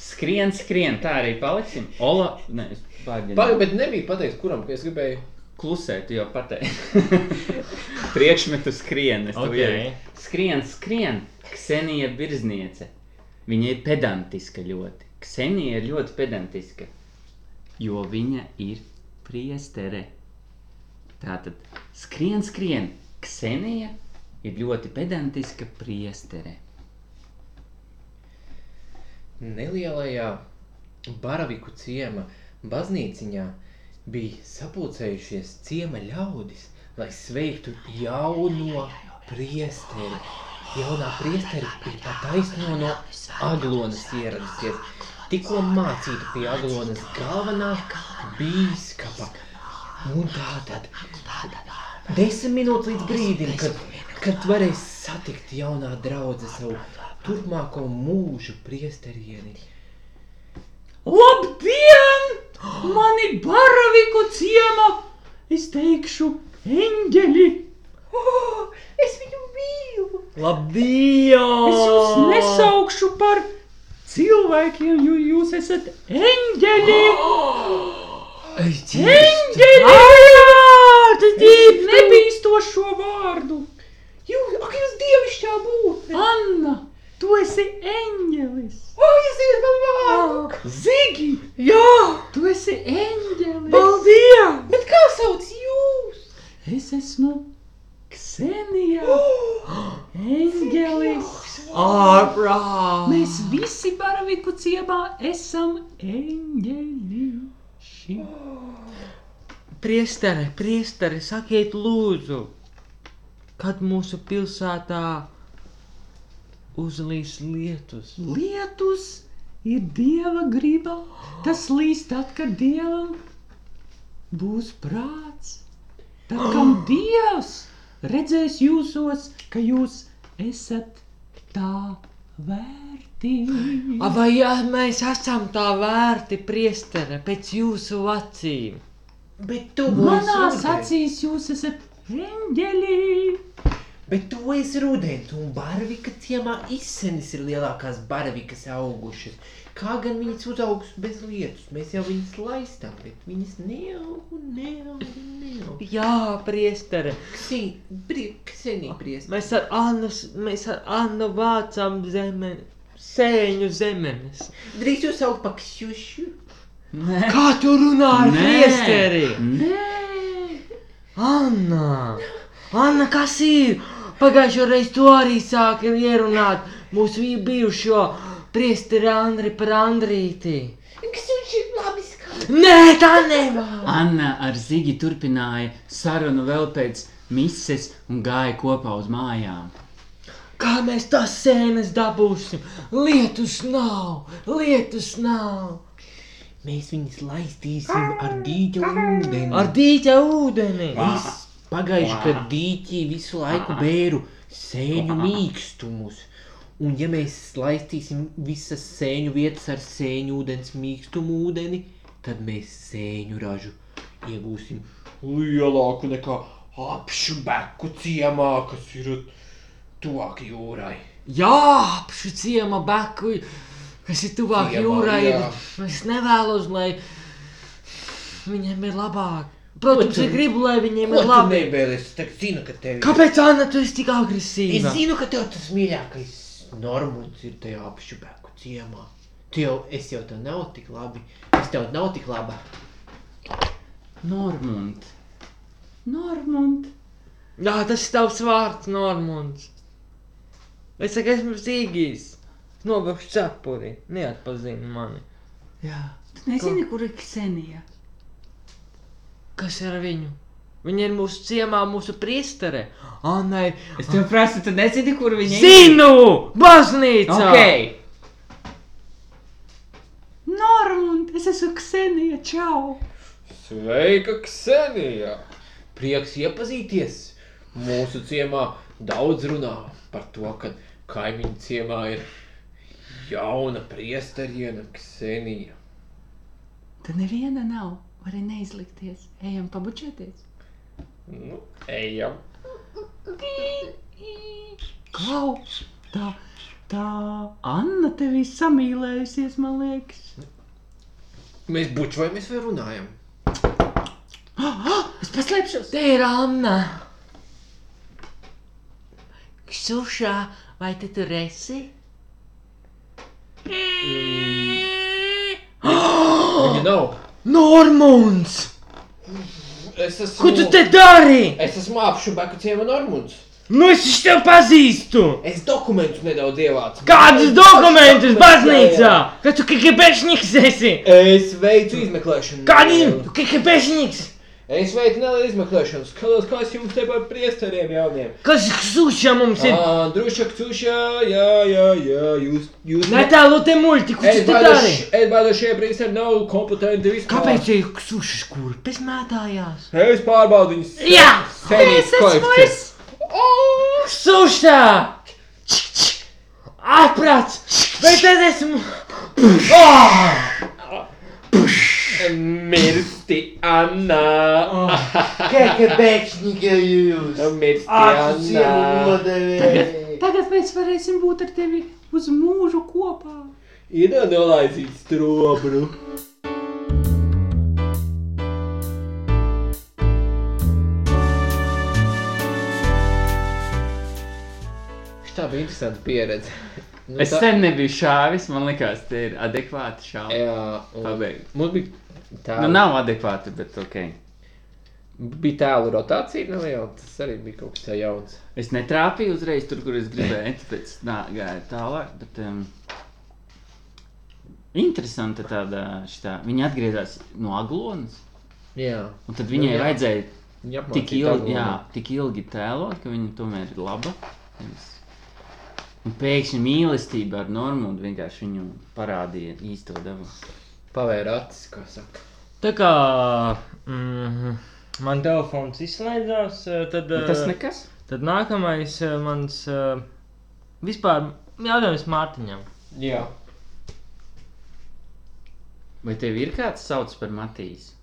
Speaker 2: Skrien, skrien, tā arī paliksim. Ola, nē, es pārģinu.
Speaker 6: Pagaid, bet nebija pateiks, kuram, ka es gribēju
Speaker 2: Klusēt, jau pateicu. Priekšmetu skrienes.
Speaker 1: Ok.
Speaker 2: Skrien, skrien. Ksenija Birzniece. Viņa ir pedantiska ļoti. Ksenija ir ļoti pedantiska. Jo viņa ir priestere. Tātad skrien, skrien. Ksenija ir ļoti pedantiska priestere.
Speaker 3: Nelielajā Baraviku ciema baznīciņā bija sapulcējušies ciema ļaudis, lai sveiktu jauno priesteri. Jaunā priesteri bija pa taisno no Aglonas ieradusies. Tikko mācīta pie Aglonas galvenā bīskapa. Un tātad desmit minūtes līdz brīdim, kad, kad varēs satikt jaunā draudze savu turpmāko mūžu priesterieni.
Speaker 2: Labdien! Mani baraviku ciema! Es teikšu, eņģeli!
Speaker 3: Es viņu mīlu!
Speaker 2: Es jums
Speaker 5: Labdien!
Speaker 2: nesaukšu par cilvēkiem, jo jūs esat eņģeli! Eņģeli! Es nebīstu šo vārdu!
Speaker 3: Jūs, ak, jūs dievišķā būtne!
Speaker 2: Anna, tu esi eņģelis!
Speaker 3: O, jūs zināt man vārdu!
Speaker 2: Zigi,
Speaker 3: Jā!
Speaker 2: tu esi eņģelis!
Speaker 3: Paldies! Bet kā sauc jūs?
Speaker 2: Es esmu Ksenija! Eņģelis!
Speaker 5: Ārā!
Speaker 2: Mēs visi baraviku ciemā esam eņģeļi!
Speaker 5: Priestere, priestere, sakiet, lūdzu, kad mūsu pilsētā uzlīs lietus?
Speaker 2: Lietus ir dieva griba. Tas līst tad, kad dievam būs prāts. Tad, kad dievs redzēs jūsos, ka jūs esat tā vērti.
Speaker 5: A, Vai ja, mēs esam tā vērti, priestere, pēc jūsu acīm?
Speaker 3: Bet tu
Speaker 2: Manā
Speaker 3: būsi rudens.
Speaker 2: acīs jūs esat eņģeli.
Speaker 3: Bet tu esi rudens, un Baravika ciemā izsenis ir lielākās baravikas augušas. Kā gan viņas uzaugs bez lietus? Mēs jau viņas laistām, bet viņas neaugu, neaugu, neaugu.
Speaker 5: Jā, priestere,
Speaker 3: Ksī, brie, ksenī priest.
Speaker 5: mēs ar Annu, s- mēs ar Annu vācam zemeni, sēņu zemenes.
Speaker 3: Drīz jūs sauc pa kšušu.
Speaker 2: Nē,
Speaker 5: Kā tu runā ar priesteri?
Speaker 2: Nē,
Speaker 5: Anna, Anna kas ir? Pagājušo reizi to arī sāka ierunāt mūsu vi- bijušo priesteri Andri par Andrīti.
Speaker 3: Kšuši ir labi skan.
Speaker 5: Nē, tā nevar!
Speaker 2: Anna ar Zigi turpināja sarunu vēl pēc mises un gāja kopā uz mājām.
Speaker 5: Kā mēs tās sēnes dabūsim? Lietus nav, lietus nav.
Speaker 3: Mēs viņas laistīsim ar dīķu ūdeni.
Speaker 5: Ar dīķa ūdeni.
Speaker 3: Es pagājuši gadu dīķī visu laiku bēru sēņu mīkstumus. Un ja mēs laistīsim visas sēņu vietas ar sēņu ūdens mīkstumu ūdeni, tad mēs sēņu ražu iegūsim lielāku nekā apšubeku ciemā, kas ir tuvāk jūrai.
Speaker 5: Jā, apšu ciema beku, kas ir tuvāk
Speaker 3: Ciemā,
Speaker 5: jūrai. ir-
Speaker 3: jā.
Speaker 5: Es nevēlos, lai viņiem ir labāk. Protams,
Speaker 3: tu-
Speaker 5: es gribu, lai viņiem
Speaker 3: Ko
Speaker 5: ir
Speaker 3: tu
Speaker 5: labi.
Speaker 3: nebēlies? Es tak zinu, ka tev ir.
Speaker 5: Kāpēc Anna tu esi tik
Speaker 3: Es
Speaker 5: agresīva?
Speaker 3: zinu, ka tev tas mīļākais normunds ir tajā apšubeku ciemā. Tev, es jau tev nav tik labi. Es tev nav tik laba.
Speaker 2: Normund, Normund,
Speaker 5: Jā, tas ir tavs vārds, Normons. Es saku, esmu zīgīs. Nobeigšu cepuri, neatpazīsti mani. Jā,
Speaker 2: tu nezini, kur ir Ksenija?
Speaker 5: kas ir ar viņu? Viņa ir mūsu ciemā, mūsu priestere. Anai,
Speaker 2: Es tev prasu, tu nezini, kur viņa
Speaker 5: zinu, baznīca!
Speaker 2: Ok. Normund, es esmu Ksenija, čau!
Speaker 3: Sveika, Ksenija! Prieks iepazīties! Mūsu ciemā daudz runā par to, ka kaimiņu ciemā ir jauna priesteriena Ksenija.
Speaker 2: Tad neviena nav, vari neizlikties. Ejam pabučēties.
Speaker 3: Nu, ejam!
Speaker 2: Klau, tā, tā Anna tev ir samīlējusies, man liekas.
Speaker 3: Mēs bučojamies vai runājam?
Speaker 5: Es paslēpšos. Te ir Anna. Ksušā, vai te tur esi?
Speaker 7: Viņa nav.
Speaker 5: Normunds!
Speaker 7: Es esmu.
Speaker 5: Ko tu te dari?
Speaker 7: Es esmu apšubeku ciemā Normunds.
Speaker 5: Nu es viņš tev pazīstu!
Speaker 7: Es dokumentus nedaudz ievācu.
Speaker 5: Kādus dokumentus
Speaker 7: Es-
Speaker 5: baznīcā? Ka tu kikibešņiks esi!
Speaker 7: Es veicu izmeklēšanu.
Speaker 5: Kādiem? Tu kikibešņiks!
Speaker 7: Es veicu nelielu izmeklēšanu. Skatos, kas jums te par priesteriem jauniem.
Speaker 5: Kas ksušā mums ir?
Speaker 7: Ā, Drušak, cušā, jā, jā, jā, jūs. jūs
Speaker 5: Netālu te muļti, ko tu te dari?
Speaker 7: Edvards šie priesteri nav kompetenti vispār.
Speaker 5: Kāpēc ir ksušas kurpes mētājās?
Speaker 7: Es pārbaudu viņus.
Speaker 5: Jā!
Speaker 7: Senis koeficients.
Speaker 5: Oh, Ksušā! Atprāts! Vai tad esmu...
Speaker 7: Mirsti,
Speaker 5: Oh.
Speaker 7: Anna.
Speaker 3: Kekebekšņīgi jūs!
Speaker 7: Mirsti, Anna.
Speaker 3: Nodevējs!
Speaker 2: Tagad mēs varēsim būt ar tevi uz mūžu kopā.
Speaker 7: Ir nolaizīt strobru.
Speaker 3: Tā bija interesanta pieredze. Nu,
Speaker 2: Es sen nebiju šāvis, man liekas, te ir adekvāti šāvi.
Speaker 3: Jā, un
Speaker 2: Pabeigt.
Speaker 3: mums bija tā
Speaker 2: Nu, nav adekvāti, bet ok.
Speaker 3: Bija tēlu rotācija neliela, tas arī bija kaut kas tā jauns.
Speaker 2: Es netrāpīju uzreiz tur, kur es gribēju, tāpēc nā, gāju tālāk. Bet, um, interesanta tāda šitā. Viņa atgriezās no Aglonas,
Speaker 3: Jā,
Speaker 2: un tad viņai
Speaker 3: Jā.
Speaker 2: vajadzēja
Speaker 3: viņa
Speaker 2: tik
Speaker 3: apmācīja
Speaker 2: ilgi,
Speaker 3: Aglonu.
Speaker 2: jā, tik ilgi tēlot, ka viņa tomēr ir laba. Nevis- Un pēkšņi mīlestība ar normu un vienkārši viņu parādīja īsto devu.
Speaker 3: Pavēra acis, kā saka.
Speaker 1: Tā kā mm, man telefons izslēdzās, eh, tad, eh,
Speaker 2: Tas nekas.
Speaker 1: tad nākamais eh, mans eh, vispār jautājums Mārtiņam.
Speaker 7: Jā.
Speaker 2: Vai tev ir kāds sauc par Matīs?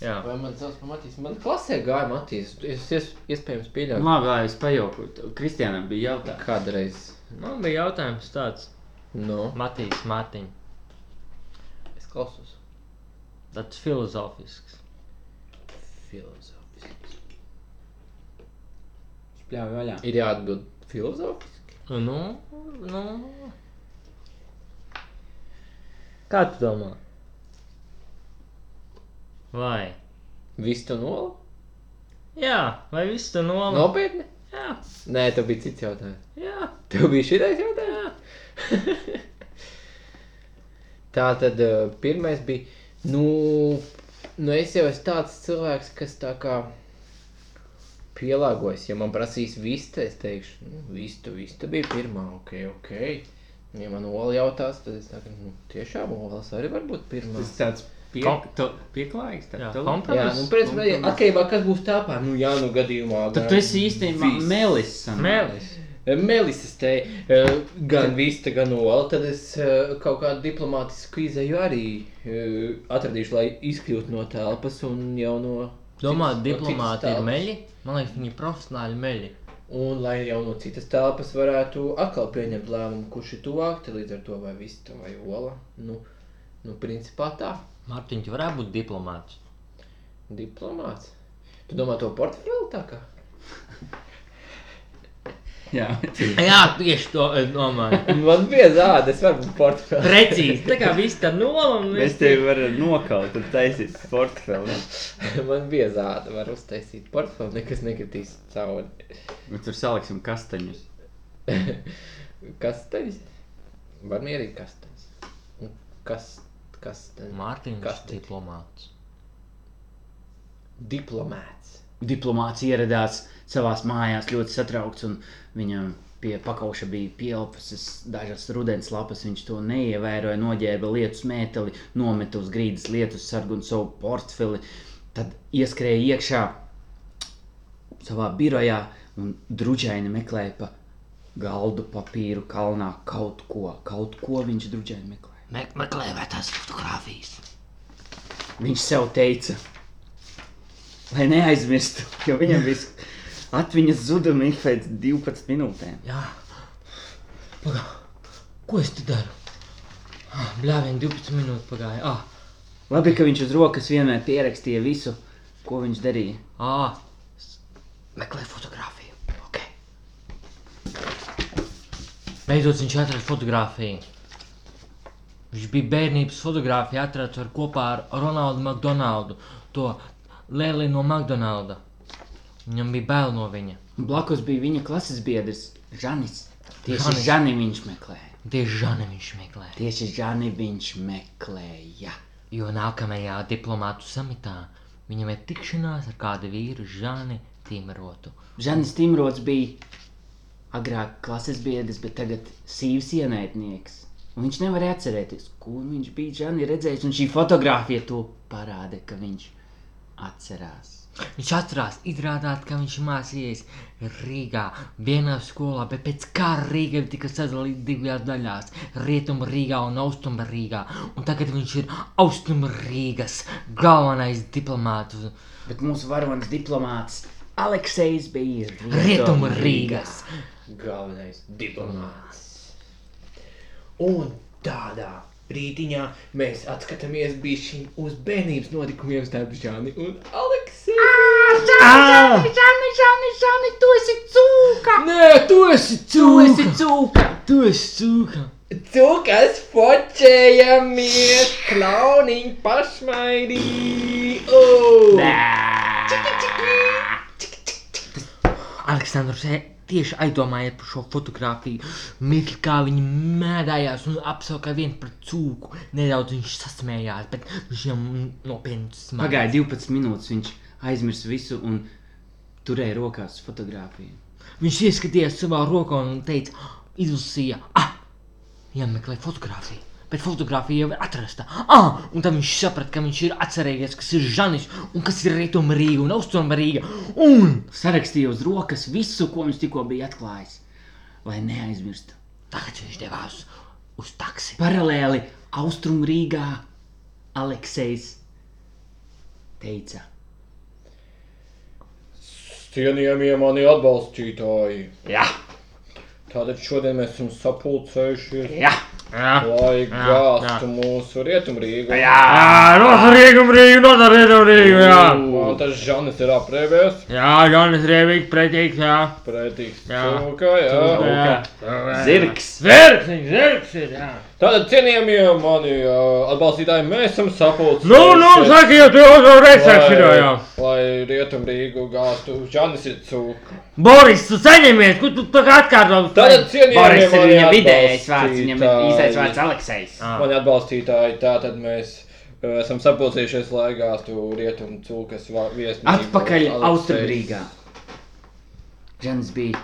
Speaker 1: Jā.
Speaker 3: Vai man sauc par Matīs? Man klasē gāja Matīs. Es ies, iespējams pieļauju.
Speaker 2: Labi, lai es pajaukotu. Kristiānam bija jautājums.
Speaker 3: Kādreiz.
Speaker 1: Man bija jautājums tāds,
Speaker 3: Nu,
Speaker 1: Matīs, Mārtiņ,
Speaker 3: es klausos.
Speaker 1: tāds filozofisks.
Speaker 3: Filozofiski.
Speaker 2: Pļāvi vaļā.
Speaker 3: Ir jāatbild filozofiski.
Speaker 1: Nu, nu. Kā tu domā? Vai?
Speaker 3: Viss to nola?
Speaker 1: Jā, vai viss tu nolaiž?
Speaker 3: Nopietni?
Speaker 1: Jā,
Speaker 3: Nē, tev bija cits jautājums.
Speaker 1: jā.
Speaker 3: Tev bija šitais jautājums? Tā tad eh, pirmais bija, nu, nu, es jau esmu tāds cilvēks, kas tā kā pielāgojas. Ja man prasīs vistu, es teikšu, nu, vistu, vistu bija pirmā, ok, ok. Ja man ola jautās, tad es teiktu, nu, tiešām olas arī var būt pirmā.
Speaker 2: Tas tāds pie,
Speaker 1: Kom-
Speaker 2: to- pieklājīgs. tā-
Speaker 1: Jā,
Speaker 2: to-
Speaker 1: kompromiss.
Speaker 3: Jā, nu, principā, ja atkarībā kas būs tāpā, nu, jā, nu, gadījumā.
Speaker 2: Tad tu esi īstenībā melis. sanāk.
Speaker 1: Mēlis.
Speaker 3: Melisas te eh, gan vista, gan ola, tad es eh, kaut kādu diplomātisku izēju arī eh, atradīšu, lai izkļūtu no telpas un jau no.
Speaker 1: Domā,
Speaker 3: citas- no citas
Speaker 1: diplomāti ir
Speaker 3: telpas.
Speaker 1: meļi? Man liekas, viņi ir profesionāli meļi.
Speaker 3: Un lai jau no citas telpas varētu atkal pieņemt lēmumu, kurš ir tuvāk, tad līdz ar to vai vista vai ola. Nu, nu principā tā.
Speaker 1: Mārtiņš varētu būt diplomāts.
Speaker 3: Diplomāts. Tu domā to portfeli tā kā?
Speaker 2: Jā,
Speaker 1: Jā, tieši to es domāju.
Speaker 3: Man bija zāda, es varu būt portfeli.
Speaker 1: Precīzi. Tā kā viss tā nolam.
Speaker 2: mēs tevi varam nokaut un taisīt portfeli.
Speaker 3: Man bija zāda, var uztaisīt portfeli, nekas nekritīs cauri.
Speaker 2: Mēs Nu, tur saliksim kastaņus.
Speaker 3: Kasteļs. Var mierīgi kasteļs. Un Kas, kas tad?
Speaker 1: Mārtiņš
Speaker 3: Kas
Speaker 1: ir
Speaker 3: tad?
Speaker 1: diplomāts.
Speaker 3: Diplomāts.
Speaker 2: Diplomāts ieradās savā mājās ļoti satraukts, un viņam pie pakauša bija pielpses, dažas rudens lapas. Viņš to neievēroja, noģērba lietu smēteli, nometa uz grīdas lietu sargu un savu portfeli. Tad ieskrēja iekšā savā birojā un drudžaini meklēja pa galdu papīru kalnā kaut ko. Kaut ko viņš drudžaini meklēja.
Speaker 5: Me meklē vecās fotogrāfijas.
Speaker 2: Viņš sev teica, lai neaizmirstu, jo viņam viss atmiņas zuduma ik pēc 12 minūtēm.
Speaker 5: Jā. Pagā. Ko es te daru? Ah, Bļāvien 12 minūtes pagāja. Ah.
Speaker 2: Labi, ka viņš uz rokas vienmēr pierakstīja visu, ko viņš darīja.
Speaker 5: Ah, meklē fotografiju. Okay.
Speaker 1: Beidzot viņš atrada fotografiju. Viņš bija bērnības fotografija, atrada ar kopā ar Ronaldu McDonaldu, to lēli no McDonalda. Viņam bija bail no viņa.
Speaker 2: Blakus bija viņa klases biedrs Žanis. Tieši
Speaker 1: Žanis.
Speaker 2: Žani viņš meklēja.
Speaker 1: Tieši žani viņš meklēja.
Speaker 2: Tieši Žani viņš meklēja.
Speaker 1: Jo nākamajā diplomātu samitā viņam ir tikšanās ar kādu vīru, Žani Timrotu.
Speaker 2: Žanis Timrods bija agrāk klases biedrs, bet tagad sīvs ienaidnieks. Un viņš nevarēja atcerēties, kur viņš bija Žani redzējis, un šī fotografija to parāda, ka viņš atcerās.
Speaker 1: Viņš atcerās, izrādās, ka viņš mācījās Rīgā vienā skolā, bet pēc kara Rīga tika sadalīta divās daļās - Rietumu Rīgā un Austrumu Rīgā. Un tagad viņš ir Austrumu Rīgas galvenais diplomāts.
Speaker 2: Bet mūsu varonis diplomāts Aleksis bija
Speaker 1: Rietumu Rīgas!
Speaker 3: galvenais diplomāts. Un tādā
Speaker 7: Rītiņā mēs atskatāmies bišķiņ uz bērnības notikumiem starp Žani un Aleksiju.
Speaker 1: Ah!
Speaker 7: Nē, tu esi
Speaker 2: cūka! Tu esi cūka!
Speaker 7: Cukas focējamies, klauniņ pašmaidī. Oh!
Speaker 1: Aleksandrs e- tieši aizdomājies par šo fotografiju. Mirkli kā viņi mēdājās un apskauka vienu par cūku. Nedaudz viņš sasmējās, bet viņš jau nopietni smagi.
Speaker 2: Pagāja 12 minūtes, viņš aizmirsa visu un turēja rokās fotografiju.
Speaker 1: Viņš ieskatījās savā rokā un teica, izlasīja, ah, jāmeklē fotografija. Bet fotografija jau ir atrasta. Ah, un tad viņš saprata, ka viņš ir atcerējies, kas ir Žanis un kas ir Rietumrīga un Austrumrīga. Un
Speaker 2: Sarakstīja uz rokas visu, ko viņš tikko bija atklājis, lai neaizmirstu.
Speaker 1: tagad viņš devās uz taksi.
Speaker 2: Paralēli Austrumrīgā Aleksis teica,
Speaker 8: Cienījamie mani atbalstītāji! Jā! Tātad šodien mēs esam sapulcējušies,
Speaker 1: Jā, jā.
Speaker 8: lai
Speaker 1: jā.
Speaker 8: gāztu mūsu rietumrīgu.
Speaker 1: Notarīgumrīgi, notarīgumrīgi, jā.
Speaker 8: Un tas Žanis ir aprēbies,
Speaker 1: Jā, Jānis Rēvīgs pretīgs, jā.
Speaker 8: pretīgs
Speaker 1: Jā.
Speaker 8: cilvēkā, jā.
Speaker 1: Jā.
Speaker 2: Zirgs!
Speaker 1: Zirgs, viņš zirgs ir, jā.
Speaker 8: Tātad, cienījamie mani ā, atbalstītāji, mēs esam sapulcējušies.
Speaker 1: Nu, nu, saki, jau tu uzreiz saki,
Speaker 8: lai,
Speaker 1: jā.
Speaker 8: lai rietumrīgu gāztu Žanis ir cūka.
Speaker 1: Boris, tu saņemies, ko tu tā kā atkārtot?
Speaker 8: Tātad, cienījamie
Speaker 2: Boris ir
Speaker 8: mani
Speaker 2: viņa vidējais vārds, viņam ir
Speaker 8: atbalstītāji.
Speaker 2: īstais vārds Aleksis.
Speaker 8: Mani atbalstītāji, tātad mēs uh, esam sapulcējušies, lai gāztu rietumu cūkas va- viesnīcu.
Speaker 2: Atpakaļ
Speaker 8: Alekseju.
Speaker 2: Austrumrīgā. Žans bija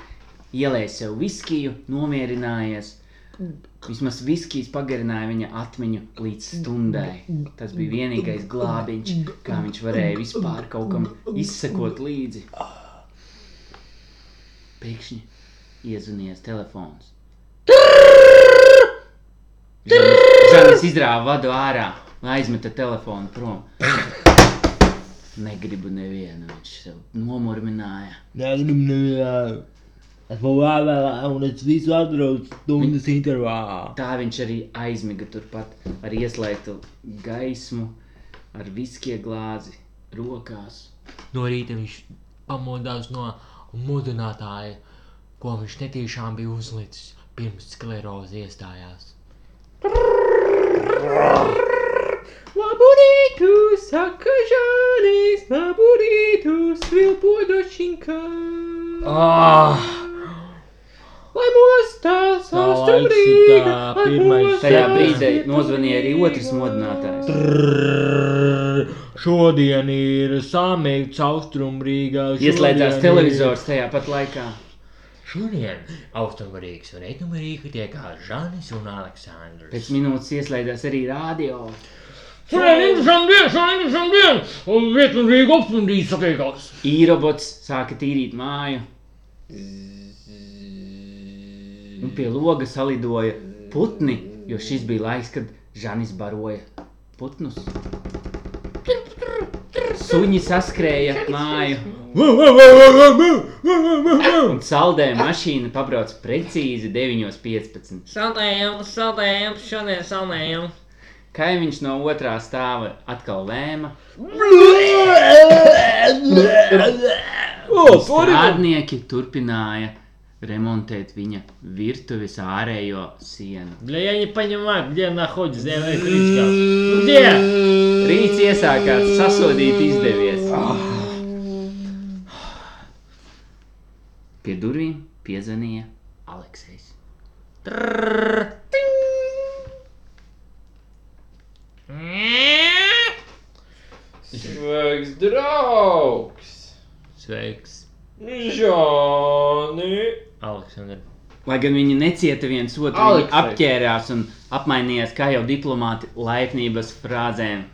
Speaker 2: ielējis sev viskiju, nomierinājies. Vismaz viskijas pagarināja viņa atmiņu līdz stundai. Tas bija vienīgais glābiņš, kā viņš varēja vispār kaut kam izsekot līdzi. Pēkšņi iezvanījās telefons. Žan- Žanis izrāva vadu ārā un aizmeta telefonu prom. Negribu nevienu, viņš sev nomurmināja.
Speaker 9: Negribu nevienu. Esmu vēlējies, un es visu atradu stundas intervālā.
Speaker 2: Tā viņš arī aizmiga turpat ar ieslēgtu gaismu, ar viskie glāzi rokās.
Speaker 1: No rīta viņš pamodās no mudinātāja, ko viņš netīšām bija uzlicis pirms sklerozi iestājās.
Speaker 7: Labu rītu, saka Žanis, labu rītu, svilpo došinkā.
Speaker 1: Ah!
Speaker 7: Lai mostās austrumrīga,
Speaker 1: Tā
Speaker 7: lai
Speaker 1: pirmais
Speaker 7: mostās
Speaker 2: Tajā
Speaker 1: Jā.
Speaker 2: brīdī nozvanīja arī otrs modinātājs.
Speaker 1: Trrrr, Šodien ir samīgs austrumrīgā.
Speaker 2: Ieslēdzās televizors tajā pat laikā.
Speaker 1: Šodien austrumrīgs un rietumrīga tiekās Žanis un Aleksandrs.
Speaker 2: Pēc minūtes ieslēdzās arī rādio.
Speaker 1: Šodien, šodien, šodien, šodien! Un rietumrīga austrumrīga satiekās.
Speaker 2: Īrobots sāka tīrīt māju. Un Nu, pie loga salidoja putni, jo šis bija laiks, kad Žanis baroja putnus. Suņi saskrēja ap māju. Un saldē mašīna pabrauc precīzi 9.15.
Speaker 5: Saldējam, saldējam, šodien saldējam.
Speaker 2: Kaimiņš no otrā stāva atkal lēma.
Speaker 8: O, porinu!
Speaker 2: Strādnieki turpināja remontēt viņa virtuves ārējo sienu.
Speaker 1: Бля, я не понимаю, где находится эта электричка. Ну, Где?
Speaker 2: Rīts iesākās, sasodīt izdevies. Pie durvīm piezvanīja Aleksis.
Speaker 8: Sveiks, draugs!
Speaker 1: Sveiks,
Speaker 8: Žoni!
Speaker 1: Aleksandr.
Speaker 2: Lai gan viņi necieta viens otru, viņi
Speaker 8: Aleksei.
Speaker 2: apģērbās un apmainījās kā jau diplomāti laipnības frāzēm.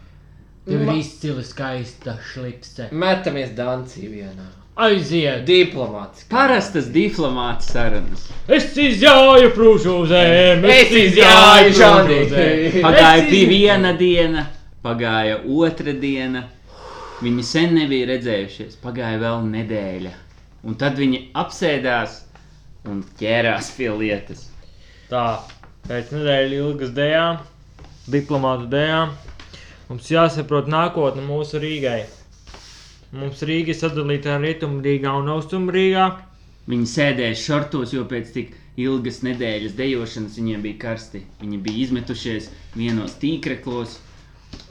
Speaker 5: Tev ir izcila skaista šlipse.
Speaker 3: Mētamies Dāncijā vienā.
Speaker 1: Aiziet!
Speaker 3: Diplomāts.
Speaker 2: Parastas diplomāta sarunas.
Speaker 1: Es izjāju prūžu zemi!
Speaker 3: Es izjāju, Žani!
Speaker 2: Pagāja bija viena diena, pagāja otra diena. Viņi sen nebija redzējušies, pagāja vēl nedēļa. Un tad viņi apsēdās un ķērās pie lietas.
Speaker 1: Tā, pēc nedēļas ilgas dējām, diplomātu dējām, mums jāsaprot nākotne mūsu Rīgai. Mums Rīga ir sadalīta Rietumrīgā un Austrumrīgā.
Speaker 2: Viņi sēdēja šortos, jo pēc tik ilgas nedēļas dejošanas viņiem bija karsti. Viņi bija izmetušies vienos tīkreklos.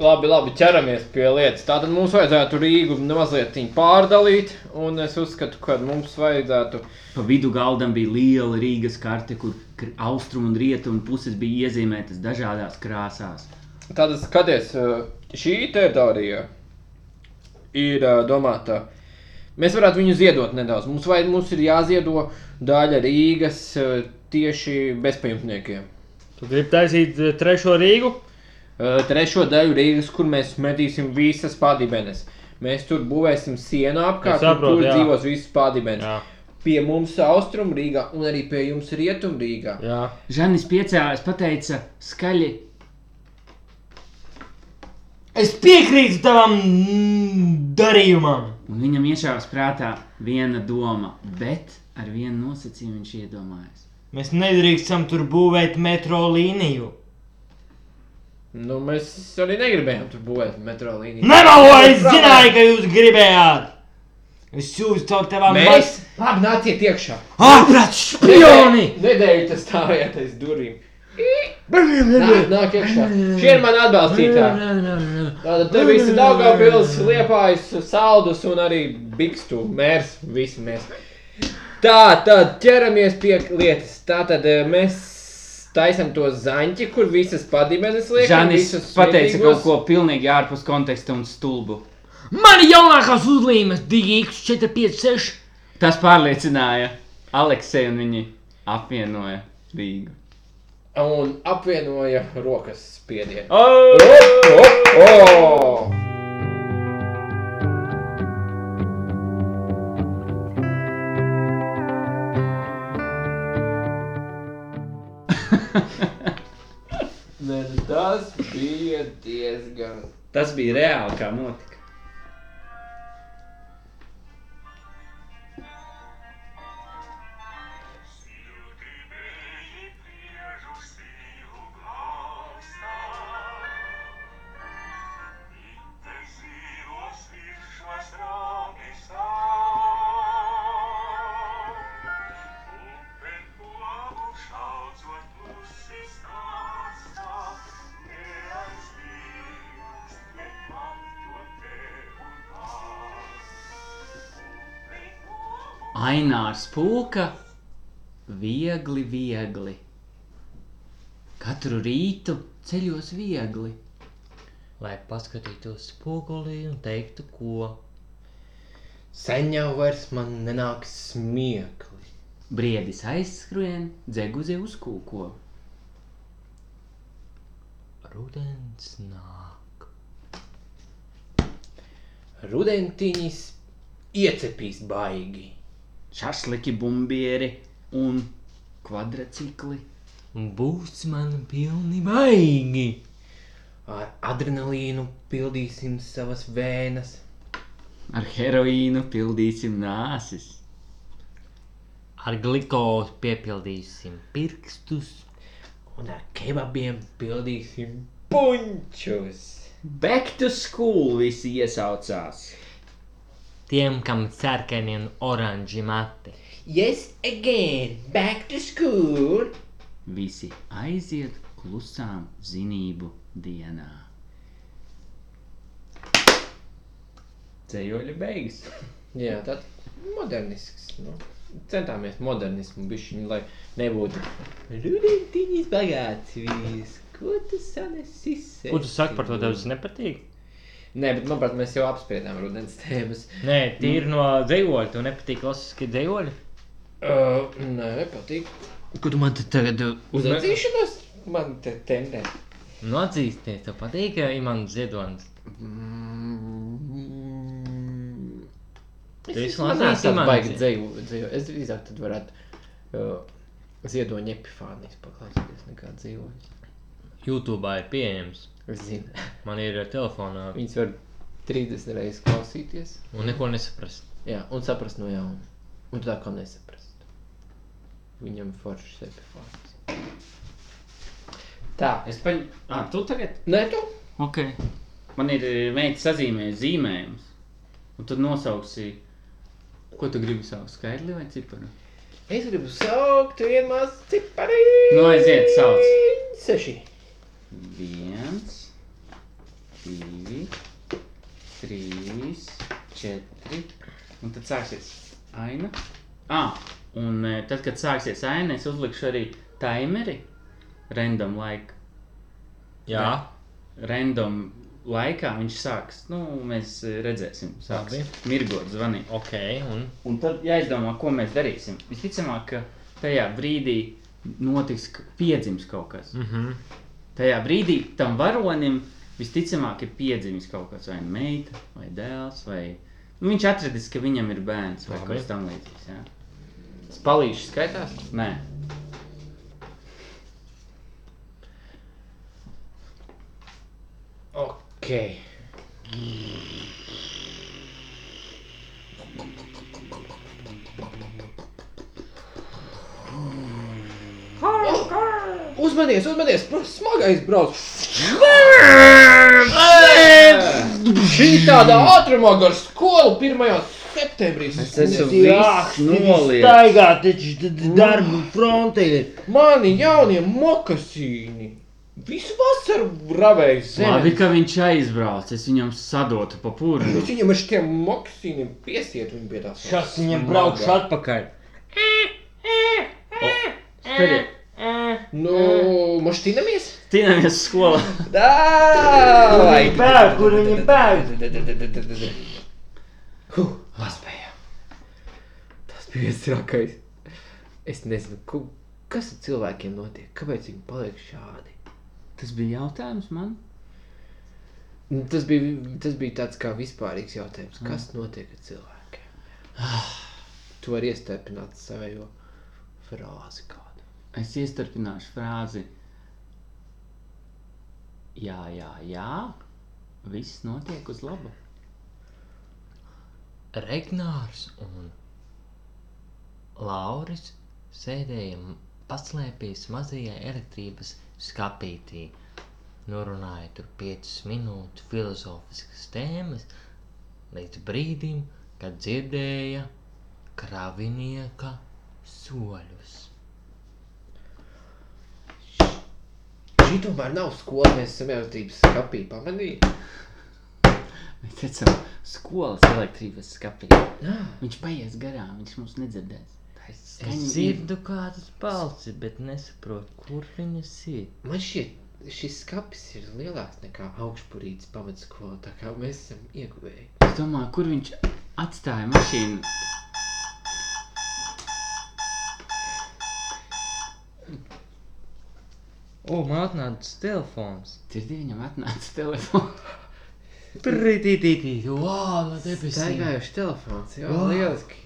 Speaker 8: Labi, labi, ķeramies pie lietas. Tātad mums vajadzētu Rīgu mazliet viņu pārdalīt, un es uzskatu, ka mums vajadzētu
Speaker 2: Pa vidu galdam bija liela Rīgas karte, kur kr- austrumu un rietumu puses bija iezīmētas dažādās krāsās.
Speaker 8: Tātad skaties, eh, šī teritorija ir eh, domāta. Mēs varētu viņu ziedot nedaudz. Mums, vai, mums ir jāziedo daļa Rīgas eh, tieši bezpajumtniekiem.
Speaker 1: Tu gribi taisīt eh, trešo Rīgu?
Speaker 8: Eh, Trešo daļu Rīgas, kur mēs metīsim visas pārdibenes. Mēs tur būvēsim sienu apkārt, un
Speaker 1: saprotu,
Speaker 8: tur
Speaker 1: jā.
Speaker 8: dzīvos visas pārdibenes.
Speaker 1: Jā,
Speaker 8: Pie mums austrumrīgā un arī pie jums rietumrīgā.
Speaker 1: jā.
Speaker 2: Žanis piecēlās, pateica skaļi,
Speaker 5: Es piekrītu tavam mm, darījumam.
Speaker 2: un viņam iešāvās prātā viena doma, bet ar vienu nosacījumu viņš iedomājās.
Speaker 5: Mēs nedrīkstam tur būvēt metro līniju.
Speaker 8: Nu, mēs arī negribējām tur būvēt metro līniju.
Speaker 5: Nemelo, es zināju, ka jūs gribējāt! Es jūs to tevām
Speaker 8: Mēs labi nāciet iekšā!
Speaker 5: Ārprāt, špioni!
Speaker 8: Nedēļu tas stāvējāt aiz durvīm. Nāk, nāk iekšā. Šie ir mani atbalstītāji. Tātad te visi Daugavpils, Liepājs, Saldus un arī Bikstu, mērs, visi mēs. Tā, tad ķeramies pie lietas. Tātad eh, mēs taisam to zaņķi, kur visas padīmenes liekam.
Speaker 2: Žanis
Speaker 8: visus
Speaker 2: pateica kaut
Speaker 8: mitīgos.
Speaker 2: ko pilnīgi ārpus konteksta un stulbu.
Speaker 5: Man ir jaunākās uzlīmes DX 456.
Speaker 2: Tas pārliecināja Alekseju un viņi apvienoja Rīgu.
Speaker 8: Un apvienoja rokas spiedienu. Oh, Nē, nu tas bija diezgan.
Speaker 2: Tas bija reāli, kā notika. Ainārs pūka viegli, viegli. Katru rītu ceļos viegli.
Speaker 1: Lai paskatītos spogulī un teiktu, ko.
Speaker 3: Sen jau vairs man nenāk smiekli.
Speaker 2: Briedis aizskrien, dzeguzi uzkūko.
Speaker 1: Rudens nāk.
Speaker 3: Rudentiņš iecepīs baigi.
Speaker 2: Šasliki, bumbieri un kvadracikli.
Speaker 1: Būs man pilni baigi.
Speaker 3: Ar adrenalīnu pildīsim savas vēnas.
Speaker 2: Ar heroīnu pildīsim nāsis.
Speaker 1: Ar glikozi piepildīsim pirkstus.
Speaker 3: Un ar kebabiem pildīsim puņķus.
Speaker 2: Back to school visi iesaucās.
Speaker 1: Tiem, kam cerkeni un oranži mati.
Speaker 10: Yes, again, back to school.
Speaker 2: Visi aiziet klusām zinību dienā. Ceļoļi beigas.
Speaker 3: Jā, tāds modernisks. Nu. Centāmies modernismu, bišķiņu, lai nebūtu. Rudentiņas bagātības, ko tu sanesi?
Speaker 1: Ko tu saki par to, tev tas nepatīk?
Speaker 3: Nē, bet manuprāt, mēs jau apspriedām rudens tēmas.
Speaker 1: Nē, tīri no dzejoļa. Tev nepatīk klasiskie dzejoļi?
Speaker 3: Uh, nē, patīk.
Speaker 2: Kur man te tagad
Speaker 1: uh,
Speaker 3: Uz atzīšanos man te tendē.
Speaker 1: Nu, atzīsties, tev patīk ja Imants Ziedonis. Mm. Tu visu laiku
Speaker 3: Manā
Speaker 1: esi
Speaker 3: skatījumā
Speaker 1: Imants
Speaker 3: baigi dzēju, dzēju. Es drīzāk tad varētu uh, ziedoņa epifānijas paklausīties nekā dzīvojas.
Speaker 1: YouTube ir pieejams.
Speaker 3: Es zinu,
Speaker 1: Man ir ar telefonā
Speaker 3: viņas var 30 reizes klausīties.
Speaker 1: un neko nesaprast.
Speaker 3: Jā, un saprast no jauna. Un tu tā kā nesaprast. Viņam foršs epifānijas. Tā.
Speaker 2: Es paņ... ah, tu tagad?
Speaker 3: Nē, tu?
Speaker 2: Ok. Man ir e, meita sazīmēja zīmējums. Un tad nosauksi, ko tu gribi saukt, skaidri vai ciparu?
Speaker 3: Es gribu saukt vienu mazu cipari.
Speaker 2: Nu, aiziet, sauc.
Speaker 3: Seši.
Speaker 2: Viens, divi, trīs, četri. Un tad sāksies aina. Ah, un e, tad, kad sāksies aina, es uzlikšu arī timeri. Random laika.
Speaker 1: Jā,
Speaker 2: Random laikā viņš sāks. Nu, mēs e, redzēsim. Sāks mirgot, zvanīt.
Speaker 1: ok. Un
Speaker 2: Un tad jāizdomā, ko mēs darīsim. Visticamāk, ka tajā brīdī notiks k- piedzims kaut kas. Mm
Speaker 1: Mhm.
Speaker 2: -hmm. Tajā brīdī tam varonim visticamāk ir piedzimis kaut kas, vai nu meita, vai dēls, vai nu, viņš atradis, ka viņam ir bērns vai
Speaker 1: Labi.
Speaker 2: kaut kas tamlīdzīgs. jā.
Speaker 3: Spalīši skaitās.
Speaker 2: Nē,
Speaker 3: Ok. Oh. Uzmanies, uzmanies! pr- Smagais brauc! Šī tādā ātrumā gar skolu 1. septembrī.
Speaker 2: es esmu
Speaker 3: Jā,
Speaker 2: viss noliets.
Speaker 5: Staigā, taču tad darbu fronte ir.
Speaker 3: Mani jaunie mokasīni! Visu vasaru ravējas
Speaker 2: Labi,
Speaker 3: zemē!
Speaker 2: ka viņš aizbrauc, es viņam sadotu pa
Speaker 3: Es
Speaker 2: pūri.
Speaker 3: Nu, viņam ar šiem mokasīniem piesiet viņu pie tās.
Speaker 1: kas viņam braukš atpakaļ?
Speaker 2: Spēļiet,
Speaker 3: Nu,
Speaker 2: Eh.
Speaker 3: mašķinamies?
Speaker 2: tīnamies skolā.
Speaker 3: Dāvai!
Speaker 5: Bēg, kur viņi bēg?
Speaker 3: Huh, Paspējām. Tas bija visrakais. Es nezinu, ku, kas ar cilvēkiem notiek, kāpēc viņi paliek šādi.
Speaker 2: Tas bija jautājums man.
Speaker 3: Nu, Tas bija, tas bija tāds kā vispārīgs jautājums.
Speaker 2: Ah.
Speaker 3: Kas notiek ar cilvēkiem? Tu vari iestarpināt savējo frāzi kādu.
Speaker 2: Es iestarpināšu frāzi. Jā, jā, jā. Viss notiek uz labu.
Speaker 1: Regnārs un Lauris sēdēja m- paslēpies mazajā elektrības skapītī. Norunāja tur 5 minūtes filozofiskas tēmas, līdz brīdim, kad dzirdēja kravinieka soļus.
Speaker 3: Šī tomēr nav skola, mēs esam elastības skapī pamanījuši.
Speaker 2: Mēs redzam, skolas elektrības skatiņā. Viņš paies garām, viņš mums nedzirdēs.
Speaker 1: Es
Speaker 2: Skaņa ir-
Speaker 1: dzirdu kādas balsis, bet nesaprotu, kur viņas ir.
Speaker 3: Man šķiet, šis skats ir lielāks nekā augšpusīgais pamatskola. Tā kā mēs esam ieguvēji.
Speaker 2: Es domāju, kur viņš atstāja mašīnu.
Speaker 1: O, man atnāca telefons.
Speaker 2: Cirdi viņam atnāca telefons.
Speaker 1: Pritītītī, wow, no
Speaker 3: Tā ir
Speaker 1: debesīm.
Speaker 3: gājuši telefons. Jā, oh. lieliski.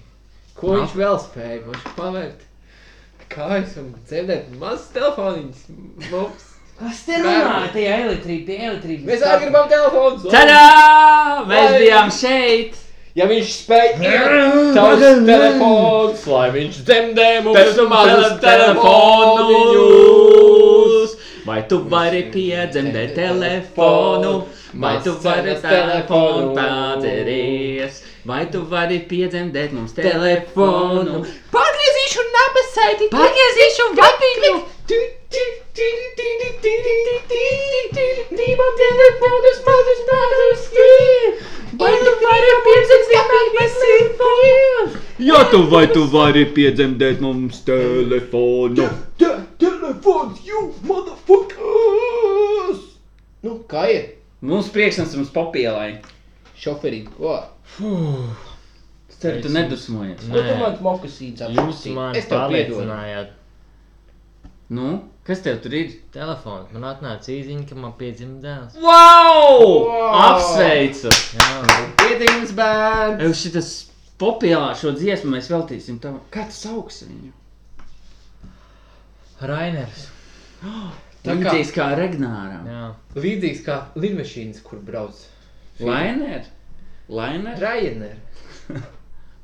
Speaker 3: Ko no. viņš vēl spēja mums pavērt? Kā es varu dzirdēt mazas telefoniņas? Mums.
Speaker 11: Kas te runā? Tajā elektrība, tie elektrība.
Speaker 3: Mēs arī gribam telefons!
Speaker 2: Tadā! Mēs
Speaker 3: Vai!
Speaker 2: bijām šeit!
Speaker 3: Ja viņš spēja tavs telefons, lai viņš dzemdē mums
Speaker 2: Pēc tam telefonu! Vai tu vari piedzemdēt telefonu, vai tu vari telefonu pārdzeries, vai tu vari piedzemdēt mums telefonu? Pagriezīšu nabasaiti! Pagriezīšu gatiņu! Divam telefonus mazus mazus! Vai tu vari piedzemdēt mums telefonu?
Speaker 9: Ja tu vai tu vari piedzemdēt mums telefonu?
Speaker 8: Telefons, you motherfuckers!
Speaker 3: Nu, kā ir?
Speaker 2: Mums priekšnes mums papielai.
Speaker 3: Šoferīt, ko?
Speaker 2: Es ceru, tu nedusmojies.
Speaker 3: Ko tu man mokusīts
Speaker 1: Jūs man
Speaker 3: Es tev piedodu.
Speaker 1: pārliecinājāt
Speaker 2: Nu, kas tev tur ir?
Speaker 1: telefonu. Man atnāca īziņa, ka man piedzima dēls.
Speaker 2: Wow! wow! Apsveicu!
Speaker 1: Jā,
Speaker 3: Piedzīvums bērns!
Speaker 2: Ev šitas populā šo dziesmu mēs veltīsim tam. Kā tu sauksi viņu?
Speaker 1: Rainers.
Speaker 3: Tā kā-
Speaker 2: Līdzīgs kā Regnāram.
Speaker 1: Jā.
Speaker 3: Līdzīgs kā lidmašīnas, kur brauc
Speaker 2: Lainer? Lainer?
Speaker 3: Ryanair.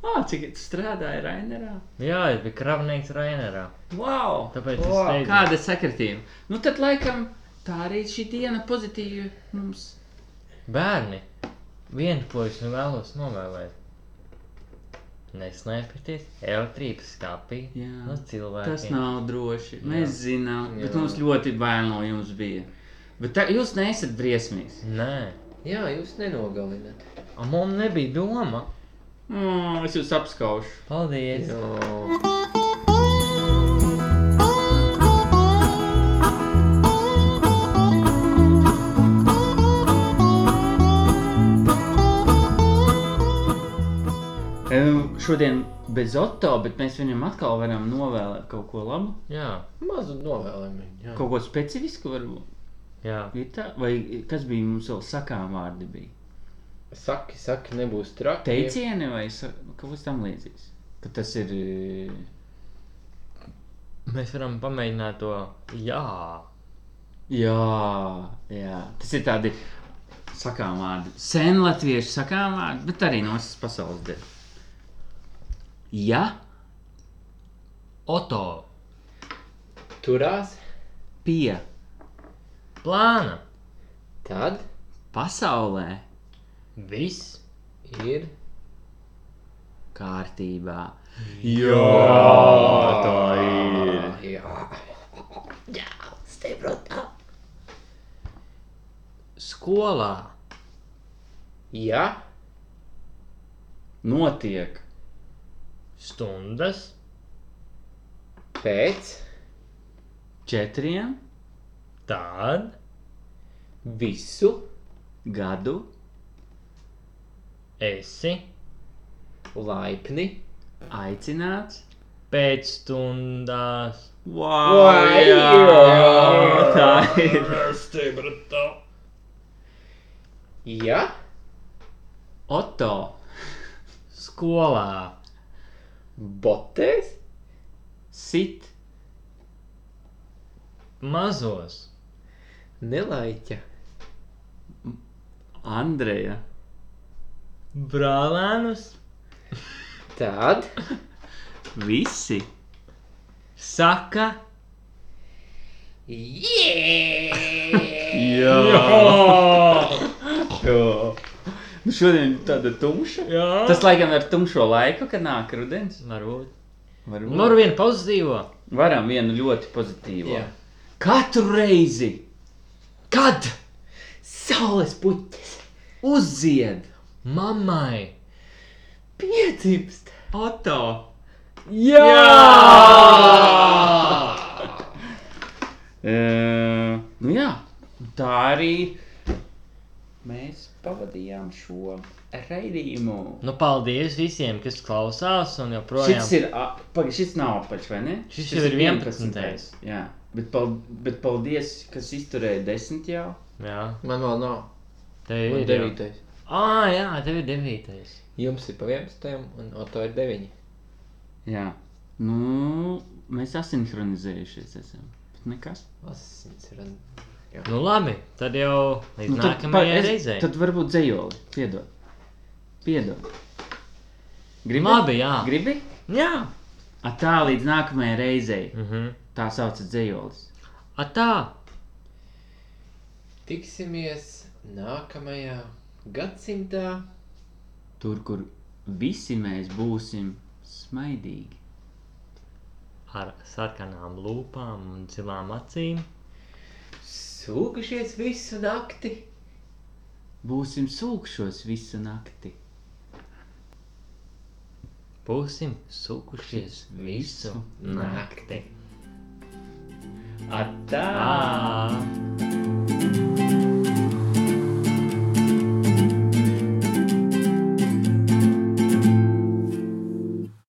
Speaker 2: Ā, cik tu strādāji Rainerā?
Speaker 1: Jā, es biju kravnieks Rainerā.
Speaker 2: Wow!
Speaker 1: Tāpēc es teicu,
Speaker 2: Kāda sakritība? Nu tad laikam tā arī šī diena pozitīva mums.
Speaker 1: bērni, vienu ko es nu vēlos novēlēt. Nesnaipieties elektrības skāpī Nu,
Speaker 2: Jā.
Speaker 1: no cilvēkiem.
Speaker 2: Tas nav droši. Mēs Nu, Jā. zinām, bet mums ļoti bail no jums bija. Bet tā, jūs neesat briesmīgs.
Speaker 1: Nē,
Speaker 3: Jā, jūs nenogalināt.
Speaker 1: A, mums nebija doma.
Speaker 2: Mm, es jūs apskaušu.
Speaker 1: Paldies! Jā.
Speaker 2: Em, Šodien bez Oto, bet mēs viņam atkal varam novēlēt kaut ko labu.
Speaker 1: Jā.
Speaker 3: Mazu novēlējumu. jā.
Speaker 2: Kaut ko specifisku, varbūt.
Speaker 1: Jā.
Speaker 2: Ir Tā, vai kas bija mums vēl sakām vārdi? Bija?
Speaker 3: Saki, saki, nebūs traki.
Speaker 2: Teicieni vai sa- kaut kas tam līdzīgs? Ka tas ir. e,
Speaker 1: Mēs varam pamēģināt to. Jā,
Speaker 2: Jā, jā. tas ir tādi sakām vārdi. Sen latviešu sakām vārdi, bet arī no visas pasaules dēļ. Ja
Speaker 1: Oto,
Speaker 3: Turās,
Speaker 2: pie
Speaker 1: plāna,
Speaker 3: tad
Speaker 2: pasaulē
Speaker 1: viss.
Speaker 3: ir
Speaker 2: kārtībā,
Speaker 1: Skolā
Speaker 3: jā,
Speaker 2: notiek
Speaker 1: stundas
Speaker 3: pēc
Speaker 2: četriem
Speaker 1: tad
Speaker 3: visu
Speaker 2: gadu
Speaker 1: esi
Speaker 3: laipni.
Speaker 2: aicināts.
Speaker 1: pēc stundās.
Speaker 2: Wow, jā, tā ir.
Speaker 3: Ja
Speaker 2: Oto
Speaker 1: Skolā
Speaker 3: botēs,
Speaker 2: sit
Speaker 1: mazos
Speaker 3: nelaiķa
Speaker 2: Andreja
Speaker 1: brālēnus
Speaker 3: tad
Speaker 2: visi
Speaker 1: saka,
Speaker 2: Jā, jā. Nu šodien tāda tumša.
Speaker 1: jā, tas
Speaker 2: Tas laikam ar tumšo laiku, kad nāk rudens.
Speaker 1: varbūt.
Speaker 2: Varbūt.
Speaker 1: Varu vienu pozitīvo.
Speaker 2: Varam vienu ļoti pozitīvu.
Speaker 3: Jā.
Speaker 2: Katru reizi, kad
Speaker 3: saules puķis
Speaker 2: uzzied
Speaker 1: Mammai,
Speaker 3: piedzimst.
Speaker 2: Oto,
Speaker 1: jā!
Speaker 2: e, nu jā, tā arī mēs pavadījām šo raidījumu.
Speaker 1: Nu, paldies visiem, kas klausās un joprojām.
Speaker 2: Šis ir, a, paga, šis nav apaļš, vai ne?
Speaker 1: Šis jau ir 11..
Speaker 2: Jā, bet, pal, bet paldies, kas izturēja desmit jau.
Speaker 1: Jā,
Speaker 3: Man vēl nav.
Speaker 1: tev
Speaker 3: Man
Speaker 1: ir jau.
Speaker 3: devītais.
Speaker 1: Ah, jā, tev ir devītais.
Speaker 3: Jums ir pa 11, un Oto ir 9.
Speaker 2: Jā, nu, mēs asinhronizējušies esam. Bet nekas.
Speaker 3: Asins ir.
Speaker 1: Nu, labi, tad jau līdz
Speaker 2: Nu,
Speaker 1: nu,
Speaker 2: tad pa-
Speaker 1: nākamajai
Speaker 2: es-
Speaker 1: reizei.
Speaker 2: Tad varbūt dzējoli, piedod. Piedod. Gribi?
Speaker 1: Labi, jā.
Speaker 2: Gribi?
Speaker 1: Jā.
Speaker 2: A tā līdz nākamajai reizei.
Speaker 1: Mhm.
Speaker 2: Tā saucas dzējolis.
Speaker 1: Atā,
Speaker 3: Tiksimies nākamajā gadsimtā.
Speaker 2: Tur, kur visi mēs būsim smaidīgi.
Speaker 1: ar sarkanām lūpām un zilām acīm.
Speaker 3: Sūkušies visu nakti.
Speaker 2: Būsim sūkšos visu nakti.
Speaker 1: Būsim sukušies visu nakti.
Speaker 2: Tā!